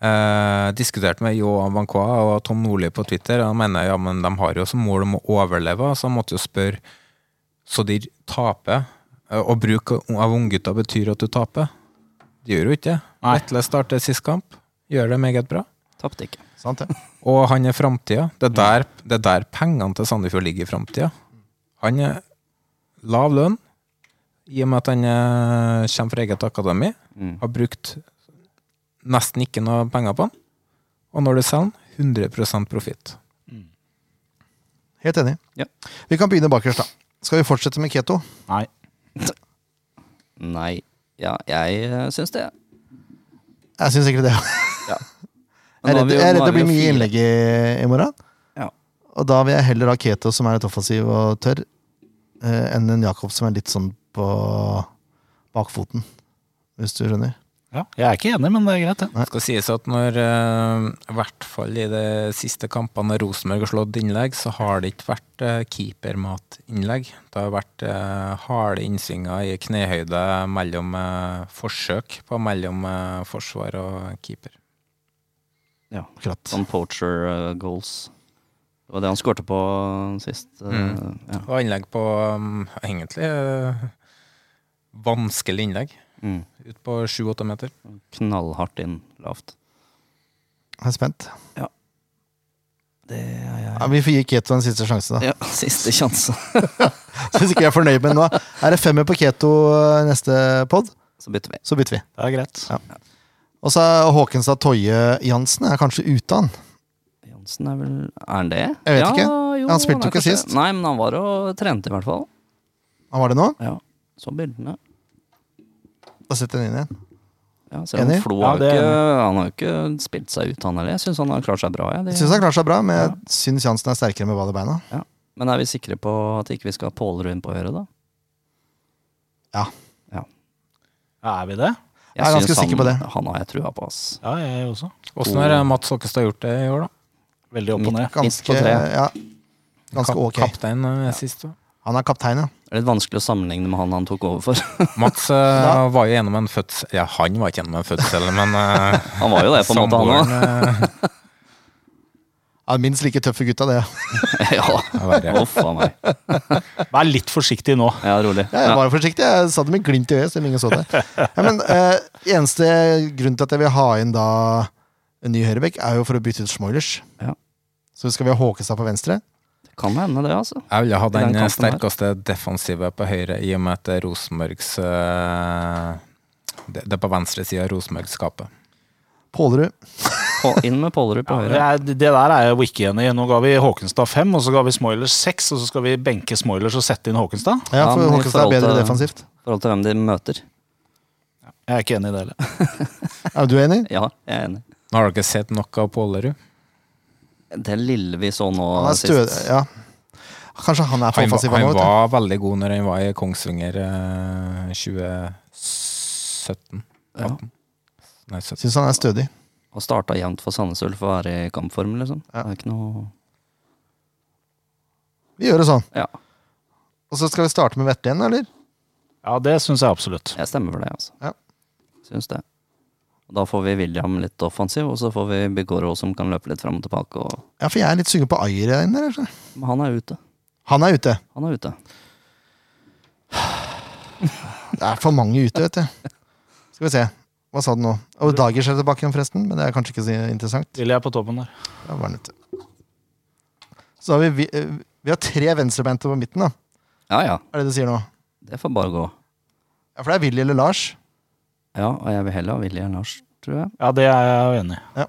D: Eh, diskuterte med Johan Bancoa og Tom Nordli på Twitter. Og de mener ja, men de har jo som mål om å overleve, så jeg måtte jo spørre Så de taper? Eh, Og bruk av unggutta betyr at du taper? De gjør jo ikke det. Vetle starter sist kamp, gjør det meget bra.
B: Tapte ikke.
A: Sant, det.
D: Og han er framtida. Det, er der- det er der pengene til Sandefjord ligger i framtida. Han er lav lønn, i og med at han eh, kommer fra eget akademi.
B: Mm.
D: Har brukt nesten ikke noe penger på han. Og når du selger han, 100 profitt.
A: Helt enig.
B: Ja.
A: Vi kan begynne bakerst, da. Skal vi fortsette med Keto?
C: Nei.
B: Nei. Ja, jeg uh, syns det.
A: Jeg syns ikke det.
B: Men
A: Jeg er
B: nå har
A: redd,
B: vi jo-
A: jeg er
B: nå
A: redd det
B: har vi
A: blir
B: jo
A: mye
B: fire.
A: innlegg i, i morgen.
B: Ja.
A: Og da vil jeg heller ha Keto, som er litt offensiv og tørr, eh, enn en Jakob som er litt sånn på bakfoten. Hvis du skjønner.
C: Ja, jeg er ikke enig, men det er greit, det.
A: Nei.
D: Det skal sies at når, eh, i hvert fall i de siste kampene når Rosenborg har slått innlegg, så har det ikke vært eh, keepermatinnlegg. Det har vært eh, harde innsvinger i knehøyde mellom eh, forsøk på mellom eh, forsvar og keeper.
B: Ja.
A: Akkurat.
B: Sånn poacher eh, goals. Det var det han skårte på sist. eh,
D: Mm.
B: ja.
D: Og innlegg på mm, egentlig eh, vanskelig innlegg.
B: Mm.
D: Ut på sju-åtte meter.
B: Knallhardt inn lavt.
A: Jeg er spent.
B: Det er jeg.
A: Ja, vi får gi Keto en siste sjanse, da.
B: Ja, siste sjanse.
A: Hvis ikke vi er fornøyd med den nå. Er det femmer på Keto eh, neste pod,
B: Så bytter vi.
A: så bytter vi.
C: Det er greit.
A: Ja. Og så er Håkenstad Toje Jansen er kanskje ute, han.
B: Jansen er vel Er han det?
A: Jeg vet
B: ja,
A: ikke.
B: Jo,
A: Han spilte
B: er
A: jo ikke
B: kanskje-
A: sist.
B: Nei, men han var og trente, i hvert fall.
A: Han var det nå?
B: Ja. Så bildene.
A: Da setter jeg den inn igjen.
B: Ja, selv om
A: Enig?
B: Flo
C: Ja,
B: har,
C: det er
B: jo ikke, han har jo ikke spilt seg ut, han heller. Jeg syns han har klart seg bra. Ja.
A: Jeg syns han klarer seg bra, men jeg syns Jansen er sterkere med ball i beina.
B: Men er vi sikre på at ikke vi skal ha Pålerud inn på høyre, da?
C: Ja, er vi det?
A: Jeg er ganske
B: syns han,
A: sikker på det.
B: Han har jeg trua på, ass.
C: Ja, jeg også.
A: Oh.
D: Åssen har eh, Mats Håkestad gjort det i år, da?
C: Veldig opp og ned.
B: Midt på
A: Ganske,
B: treet.
A: ja, ganske
D: Kap-
A: ok.
D: Kaptein eh, sist òg.
A: Han er kaptein, ja.
B: Det er litt vanskelig å sammenligne med han han tok over for.
D: Mats eh,
A: Da-
D: var jo gjennom en fødsel Ja, han var ikke gjennom en fødsel, men eh,
B: Han var jo det, på en måte, han òg.
D: samboeren eh,
A: Ja, minst like tøffe gutta, det.
B: ja,
D: er verre.
B: uff a meg.
C: Vær litt forsiktig nå.
B: Ja, rolig.
A: Ja, jeg var forsiktig. Jeg sa det med glimt i øyet, selv om ingen så det. Ja, men eh, Eneste grunn til at jeg vil ha inn da en ny høyrebekk, er jo for å bytte ut Smoilers.
B: Ja.
A: Så skal vi ha Håkestad på venstre.
B: Ja, Kan hende det, altså.
D: Jeg ville ha
B: I den
D: den, eh,
B: kampen her.
D: sterkeste defensive på høyre, i og med at det er Rosenborgs eh, Det det er på venstre side av Rosenborg-skapet.
A: Pålerud.
B: På- Inn med Pålerud på
C: det,
B: høyre.
C: er, det der er jeg jo ikke enig i. Nå ga vi Håkenstad fem, og så ga vi Smoilers seks, og så skal vi benke Smoilers og sette inn Håkenstad.
A: Ja,
B: Ja,
A: for
B: men i
A: Håkestad er
B: forhold
A: bedre
B: til-
A: defensivt.
B: I forhold til hvem de møter.
C: Jeg er ikke enig i det heller.
A: Er du enig?
B: Ja, jeg er enig.
D: Nå har dere sett nok av Pålerud.
B: Det lille vi så nå
A: Han er stø...
B: sist.
A: Ja. Kanskje han er for
D: Han, var-
A: offensiv
D: han
A: nå, vet du.
D: var veldig god når han var i Kongsvinger eh, 2017.
B: Ja.
D: 18. Nei, 17.
A: Syns han er stødig.
B: Og starta jevnt for Sandnes Ulf og være i kampform, liksom.
A: Ja.
B: Det er ikke noe
A: Vi gjør det sånn.
B: Ja,
A: Og så skal vi starte med Vetle igjen, eller?
C: Ja, det syns jeg absolutt.
B: jeg stemmer for det, altså.
A: Ja.
B: Syns det. Og da får vi William litt offensiv, og så får vi Bigoro som kan løpe litt fram og tilbake. Og...
A: Ja, for jeg er litt sugen på Ayer igjen, eller? så.
B: Men han er ute.
A: Han er ute.
B: Han er ute.
A: Det er for mange ute, vet du. Skal vi se. Hva sa du nå? Og Dagers er tilbake igjen, forresten. Men det er kanskje ikke så interessant.
C: Vil jeg på toppen der.
A: Da var han ute. Så har vi, vi, eh, vi har tre venstrebeinte på midten, da.
B: Ja ja,
A: Er det det du sier nå?
B: det får bare gå.
A: Ja, For det er Willy eller Lars.
B: Ja, og jeg vil heller ha Willy enn Lars, tror jeg.
C: Ja, det er jeg jo enig i.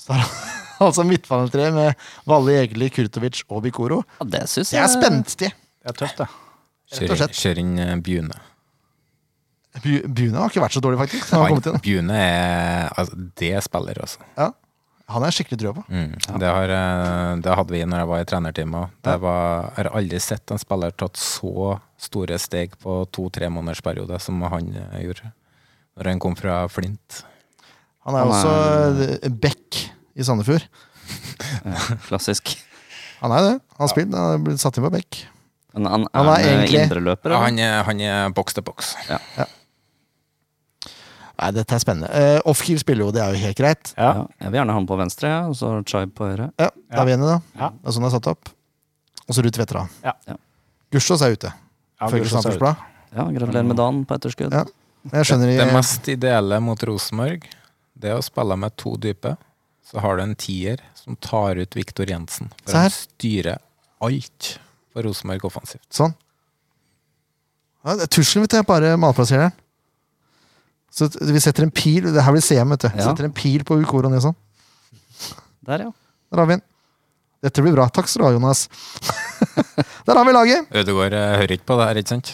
A: Så er han altså midtbanetreet med Valle Egeli, Kurtovic og Bikoro.
B: Ja, det syns
A: Det
B: jeg.
A: er spenstig!
C: Det er tøft, det.
A: Rett
D: Kjør
A: og
D: inn-
A: slett.
D: Kjør inn eh, Bjune.
A: Bu- Bune har ikke vært så dårlig, faktisk. når Han, har kommet
D: Han-
A: inn.
D: Bjune er altså, Det er spiller, altså.
A: han er skikkelig trua på.
D: Mm. Det, har, eh, det hadde vi når jeg var i trenerteamet. også. Det var- Jeg har aldri sett en spiller tatt så store steg på to-tre måneders periode som han eh, gjorde. Når han kom fra Flint.
A: Han er
B: Han
A: også
B: er-
A: eh, Beck i Sandefjord.
B: Ja, klassisk.
A: Han er det. Han har spilt, han er blitt satt inn på Beck.
B: Men han,
A: Han er
B: er en eh,
A: egentlig-
B: indreløper,
D: Ja,
B: eller?
D: han, er- han er boks til boks.
A: Nei, dette er spennende. Uh, Offkeer spiller jo, det er jo helt greit.
C: Ja.
B: Ja, jeg vil gjerne ha han på venstre, ja, og så Chaib på høyre.
A: Ja, Da er vi enige, da.
C: Ja.
A: Det er sånn det er satt opp. Og så Ruud Tvedtera.
C: Ja.
B: Ja.
A: Gustavs er ute.
C: Ja,
A: Følger
C: Gulsås er ute.
A: Samfunnsbladet.
B: Ja, Gratulerer med dagen på etterskudd.
A: Ja. Jeg skjønner
D: Det
A: i-
D: mest ideelle mot Rosenborg det er å spille med to dype. Så har du en tier som tar ut Viktor Jensen.
A: Se
D: For
A: her.
D: han styrer alt for Rosenborg offensivt.
A: Sånn. Ja, det er Tusjen, vet du, er bare malplassereren. Så t- vi setter en pil Det her blir CM, vet du.
B: Ja.
A: Setter en pil på Ukoro og sånn.
B: Der, ja.
A: Der har vi den. Dette blir bra. Takk skal du ha, Jonas. Der har vi laget!
D: Ødegaard eh, hører ikke på det her, ikke sant?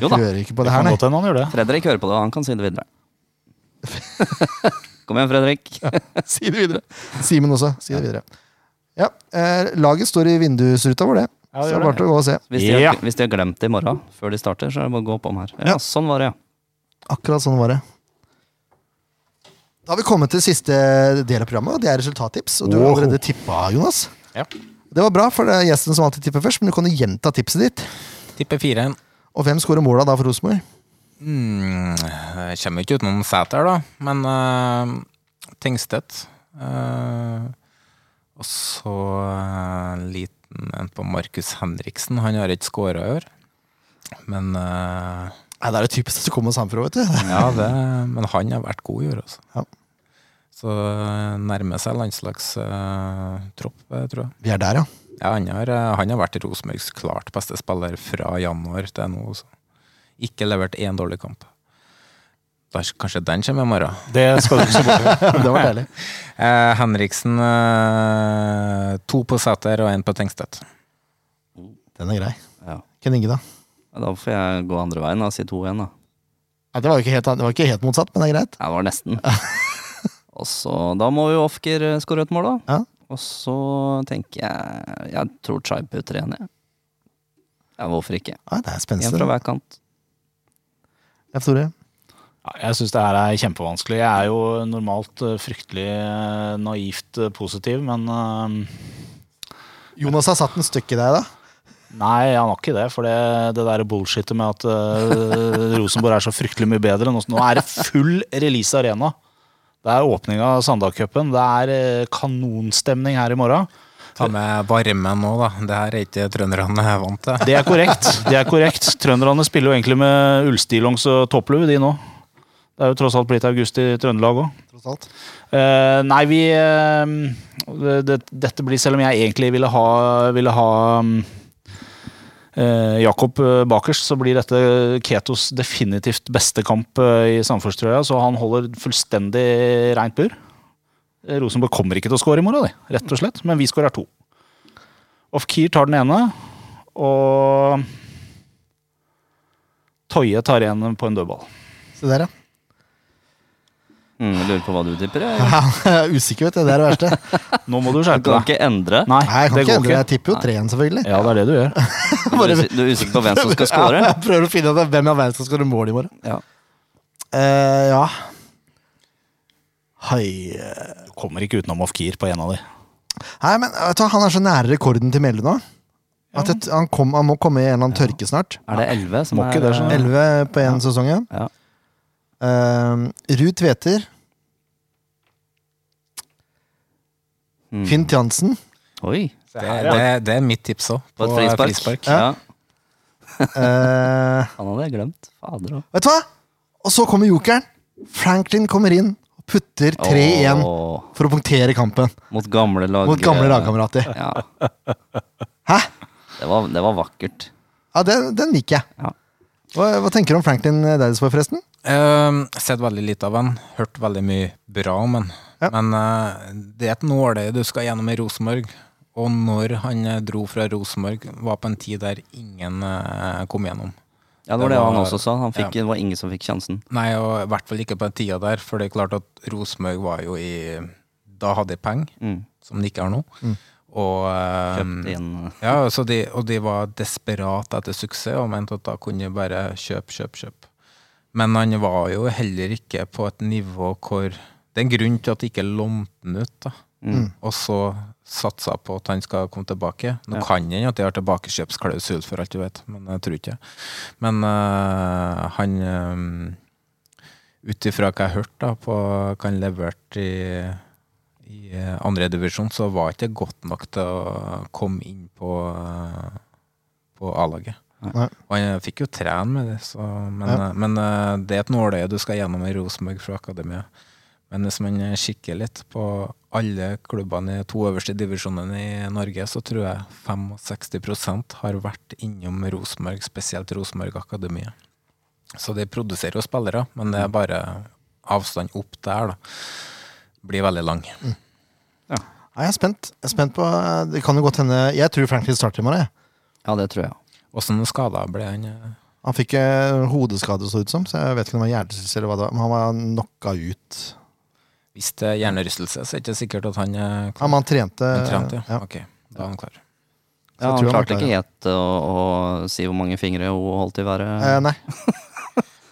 B: Jo da.
A: Hører ikke på
C: Det
A: det her,
C: kan
A: nei.
C: godt hende han gjør det.
B: Fredrik hører på det, og han kan si det videre. Kom igjen, Fredrik.
A: Si det videre. Simen også. Si det videre. Ja, eh, laget står i vindusruta vår, det. Så
C: Ja, det
A: det er
C: gjør
A: bare til å gå og se.
B: Hvis de, har,
C: Ja.
B: hvis de har glemt det i morgen, før de starter, så er det bare å gå på om her. Ja,
A: Ja.
B: sånn var det, ja.
A: Akkurat sånn var det. Da har vi kommet til siste del av programmet, og det er resultattips. Og du har
C: Wow.
A: allerede tippa, Jonas.
D: Ja.
A: Det var bra, for det er gjesten som alltid tipper først, men du kan jo gjenta tipset ditt.
D: Tipper 4-1.
A: Og hvem skårer måla da for Rosenborg?
D: Mm, jeg kommer ikke utenom Sæter, da. Men uh, Tingstedt. eh, og så eh, liten en på Markus Henriksen. Han har ikke skåra i år. Men, eh,
A: Nei, Det er det typisk at du kommer samfra, vet du.
D: ja, det, men han har vært god i år, altså.
A: Ja.
D: Så eh, nærmer seg landslagstropp, eh, tror jeg.
A: Vi er der, ja.
D: Ja, han, har, eh, han har vært Rosenborgs klart beste spiller fra januar til nå. Også. Ikke levert én dårlig kamp. Da, er kanskje den kommer i morgen.
C: Det skal du ikke se bort fra.
A: Det var deilig.
D: Eh, Henriksen eh, to på Sæter og én på Tengstedt.
A: Den er grei.
B: ja.
A: Ken Inge, da?
B: Ja, Da får jeg gå andre veien og si to igjen, da.
A: Nei, det var jo ikke helt, det var ikke helt motsatt, men det er greit.
B: Ja, det var nesten. Og så, Da må jo Ofker eh, skåre et mål, da.
A: Ja.
B: Og så tenker jeg Jeg tror Chaib putter igjen, jeg. Ja, hvorfor ikke?
A: Nei, det er
B: En fra
A: spenstig.
B: hver kant.
A: Jeg tror det.
C: Ja, jeg syns det her er kjempevanskelig. Jeg er jo normalt eh, fryktelig eh, naivt eh, positiv, men eh,
A: Jonas har satt en støkk i deg, da.
C: Nei, han har ikke det. For det, det der bullshitet med at eh, Rosenborg er så fryktelig mye bedre enn oss. Nå er det full Release Arena. Det er åpning av Sandalcupen. Det er eh, kanonstemning her i morgen.
D: Ta med varmen nå, da. Det her er ikke trønderne vant til.
C: Det er korrekt. det er korrekt. Trønderne spiller jo egentlig med ullstillongs og topplue, eh, de nå. Det er jo tross alt blitt august i Trøndelag òg.
A: tross alt.
C: Eh, nei, vi eh, det, Dette blir, selv om jeg egentlig ville ha, ville ha mm, eh, Jakob eh, bakerst, så blir dette Ketos definitivt beste kamp eh, i samfunnstrøya. Så han holder fullstendig rent bur. Eh, Rosenborg kommer ikke til å skåre i morgen, de, rett og slett, men vi skårer to. Off-Keer tar den ene, og Toye tar igjen på en dødball.
A: Se der, ja.
B: Mm, jeg lurer på hva du tipper? jeg.
A: Jeg er Usikker, vet du. Det er det verste.
C: Nå må du
B: Du
C: skjerpe
B: kan
C: deg.
B: ikke endre?
C: Nei,
A: Nei, jeg kan
C: det
A: ikke
C: går
A: endre det.
C: ikke.
A: Jeg tipper jo tre igjen, selvfølgelig.
C: Ja, det er det du gjør.
B: Du er usik- du er usikker på hvem som skal score?
A: Ja, jeg prøver å finne ut hvem i all verden som skårer mål i morgen.
B: Ja.
A: Eh, ja. Hei.
C: Du kommer ikke utenom Ofkir på en av de.
A: Nei, men vet du, hva, han er så nære rekorden til Melle nå. At et, han, kom, han må komme i en eller annen tørke snart.
B: Er det 11 som
C: Må
B: er
C: ikke det, skjønner du.
A: 11 på én sesong, ja.
B: Ja.
A: Uh, Ruud Tveter.
B: Mm.
A: Finn Jansen.
B: Oi,
D: Det, det, det er mitt tips òg.
B: på et frispark. Ja.
A: Ja. Eh,
B: Han hadde jeg glemt. Fader òg.
A: vet du hva? Og så kommer jokeren. Franklin kommer inn og putter 3-1 for å punktere kampen
B: Mot gamle lag... eh,
A: mot gamle lagkamerater.
B: Ja.
A: Hæ?
B: Det var, det var vakkert.
A: Ja, den, den liker
B: Ja.
A: jeg. Hva, hva tenker du om Franklin Daddiesborg, forresten?
D: Um, sett veldig lite av han, hørt veldig mye bra om han.
A: Ja.
D: Men eh, det er et nåløye du skal gjennom i Rosenborg. Og når han eh, dro fra Rosenborg, var på en tid der ingen eh, kom gjennom.
B: Ja, det var
D: Det
B: det han
D: var-
B: også sa. Han fikk, Det var ingen som fikk sjansen.
D: Nei, og i hvert fall ikke på den tida der, for det er klart at Rosenborg var jo i Da hadde de penger,
B: Mm.
D: som de ikke har nå. Og, eh,
A: Um,
B: Kjøpt inn
D: ja, så de, og de var desperate etter suksess og mente at da kunne de bare kjøpe, kjøpe, kjøpe. Men han var jo heller ikke på et nivå hvor Det er en grunn til at de ikke lånte han ut, da. Og så satsa på at han skal komme tilbake. Nå kan han at de har tilbakekjøpsklausul, for alt du vet, men jeg tror ikke Men øh, han øh, Ut ifra hva jeg hørte da, på hva han leverte i i eh, andre divisjon så var ikke det godt nok til å komme inn på, eh, på A-laget.
A: Nei.
D: Og han fikk jo trene med det, så, men,
A: Ja.
D: eh, men eh, det er et nåløye du skal gjennom i Rosenborg fra akademia. Men hvis man eh, kikker litt på alle klubbene i de to øverste divisjonene i Norge, så tror jeg 65 har vært innom Rosenborg, spesielt Rosenborg Akademia. Så de produserer jo spillere,
A: Mm.
D: men det er bare avstand opp der, da. Blir veldig lang.
A: Nei, jeg er spent. Jeg er spent på eh, Det kan jo godt hende Jeg tror Franklin starter i morgen. jeg.
B: Ja, det tror jeg.
D: Åssen skada ble han? eh?
A: Han fikk eh, hodeskade, så det ut som, så jeg vet ikke om det var hjertestillelse eller hva det var. Men han var knocka ut.
D: Hvis det er hjernerystelse, så er det ikke sikkert at han eh, er
A: Ja,
D: klar.
A: men han trente.
D: Han trente, ja.
A: ja.
D: Ok, da er han klar.
A: jeg
B: Ja, han
A: tror han
B: klarte
A: var
B: ikke
A: klar.
B: helt å, å si hvor mange fingre hun holdt i været.
A: Eh, nei.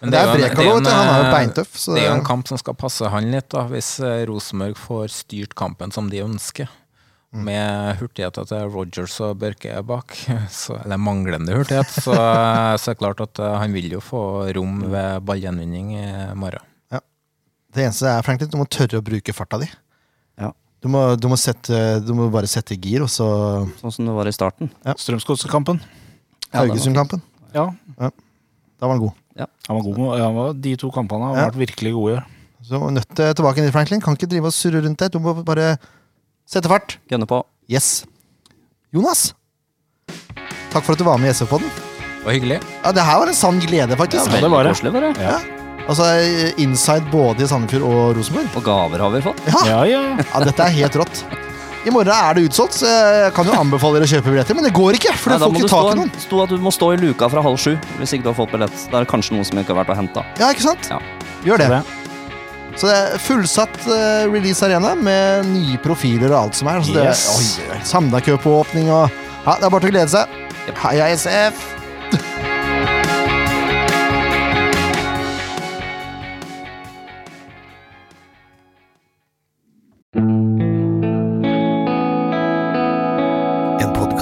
D: Men
A: det er
D: jo en-
A: Brekalo,
D: jo
A: vet du,
D: en,
A: han er jo
D: eh,
A: beintøff, så
D: Det er jo en
A: det-
D: kamp som skal passe han litt, da, hvis eh, Rosenborg får styrt kampen som de ønsker.
A: Mm.
D: Med hurtigheten til Rogers og Børke bak, så, eller manglende hurtighet, så, så er det klart at eh, han vil jo få rom ved ballgjenvinning i morgen.
A: Det eneste er, Franklin, du må tørre å bruke farta di.
B: Ja.
A: Du må, du må, sette, du må bare sette gir, og så
B: Sånn som det var i starten.
C: Strømsgodsekampen.
B: Ja, det var-
A: Haugesund-kampen.
C: Ja,
A: Da var han god.
C: han var god. med- Han var, de to kampene har
A: Ja.
C: vært virkelig gode.
A: Så nødt til tilbake dit, Franklin. Kan ikke drive og surre rundt der. Du må bare sette fart.
B: Gønne på.
A: Yes. Jonas, takk for at du var med i SF-podden.
D: Det var hyggelig.
A: Ja, det her var en sann glede, faktisk.
C: det var det.
B: koselig, bare.
A: Ja. Altså, inside både i Sandefjord og Rosenborg.
B: Og gaver har vi fått.
A: Ja,
C: Ja, ja.
A: ja dette er helt rått. I morgen er det utsolgt, så jeg kan jo anbefale dere å kjøpe billetter, men det går ikke, for
B: Nei,
A: du
B: da
A: får
B: må
A: ikke
B: du stå,
A: tak i noen.
B: Sto at du må stå i luka fra halv sju hvis ikke du har fått billett. Da er det kanskje noen som ikke har vært og henta.
A: Ja, ikke sant?
B: Ja.
A: Gjør det.
C: det.
A: Så det er fullsatt eh, Release Arena med nye profiler og alt som er. Så det er
C: Yes.
A: oi, oi, oi. Samla kø på åpning og Ja, det er bare til å glede seg. Heia SF!
G: En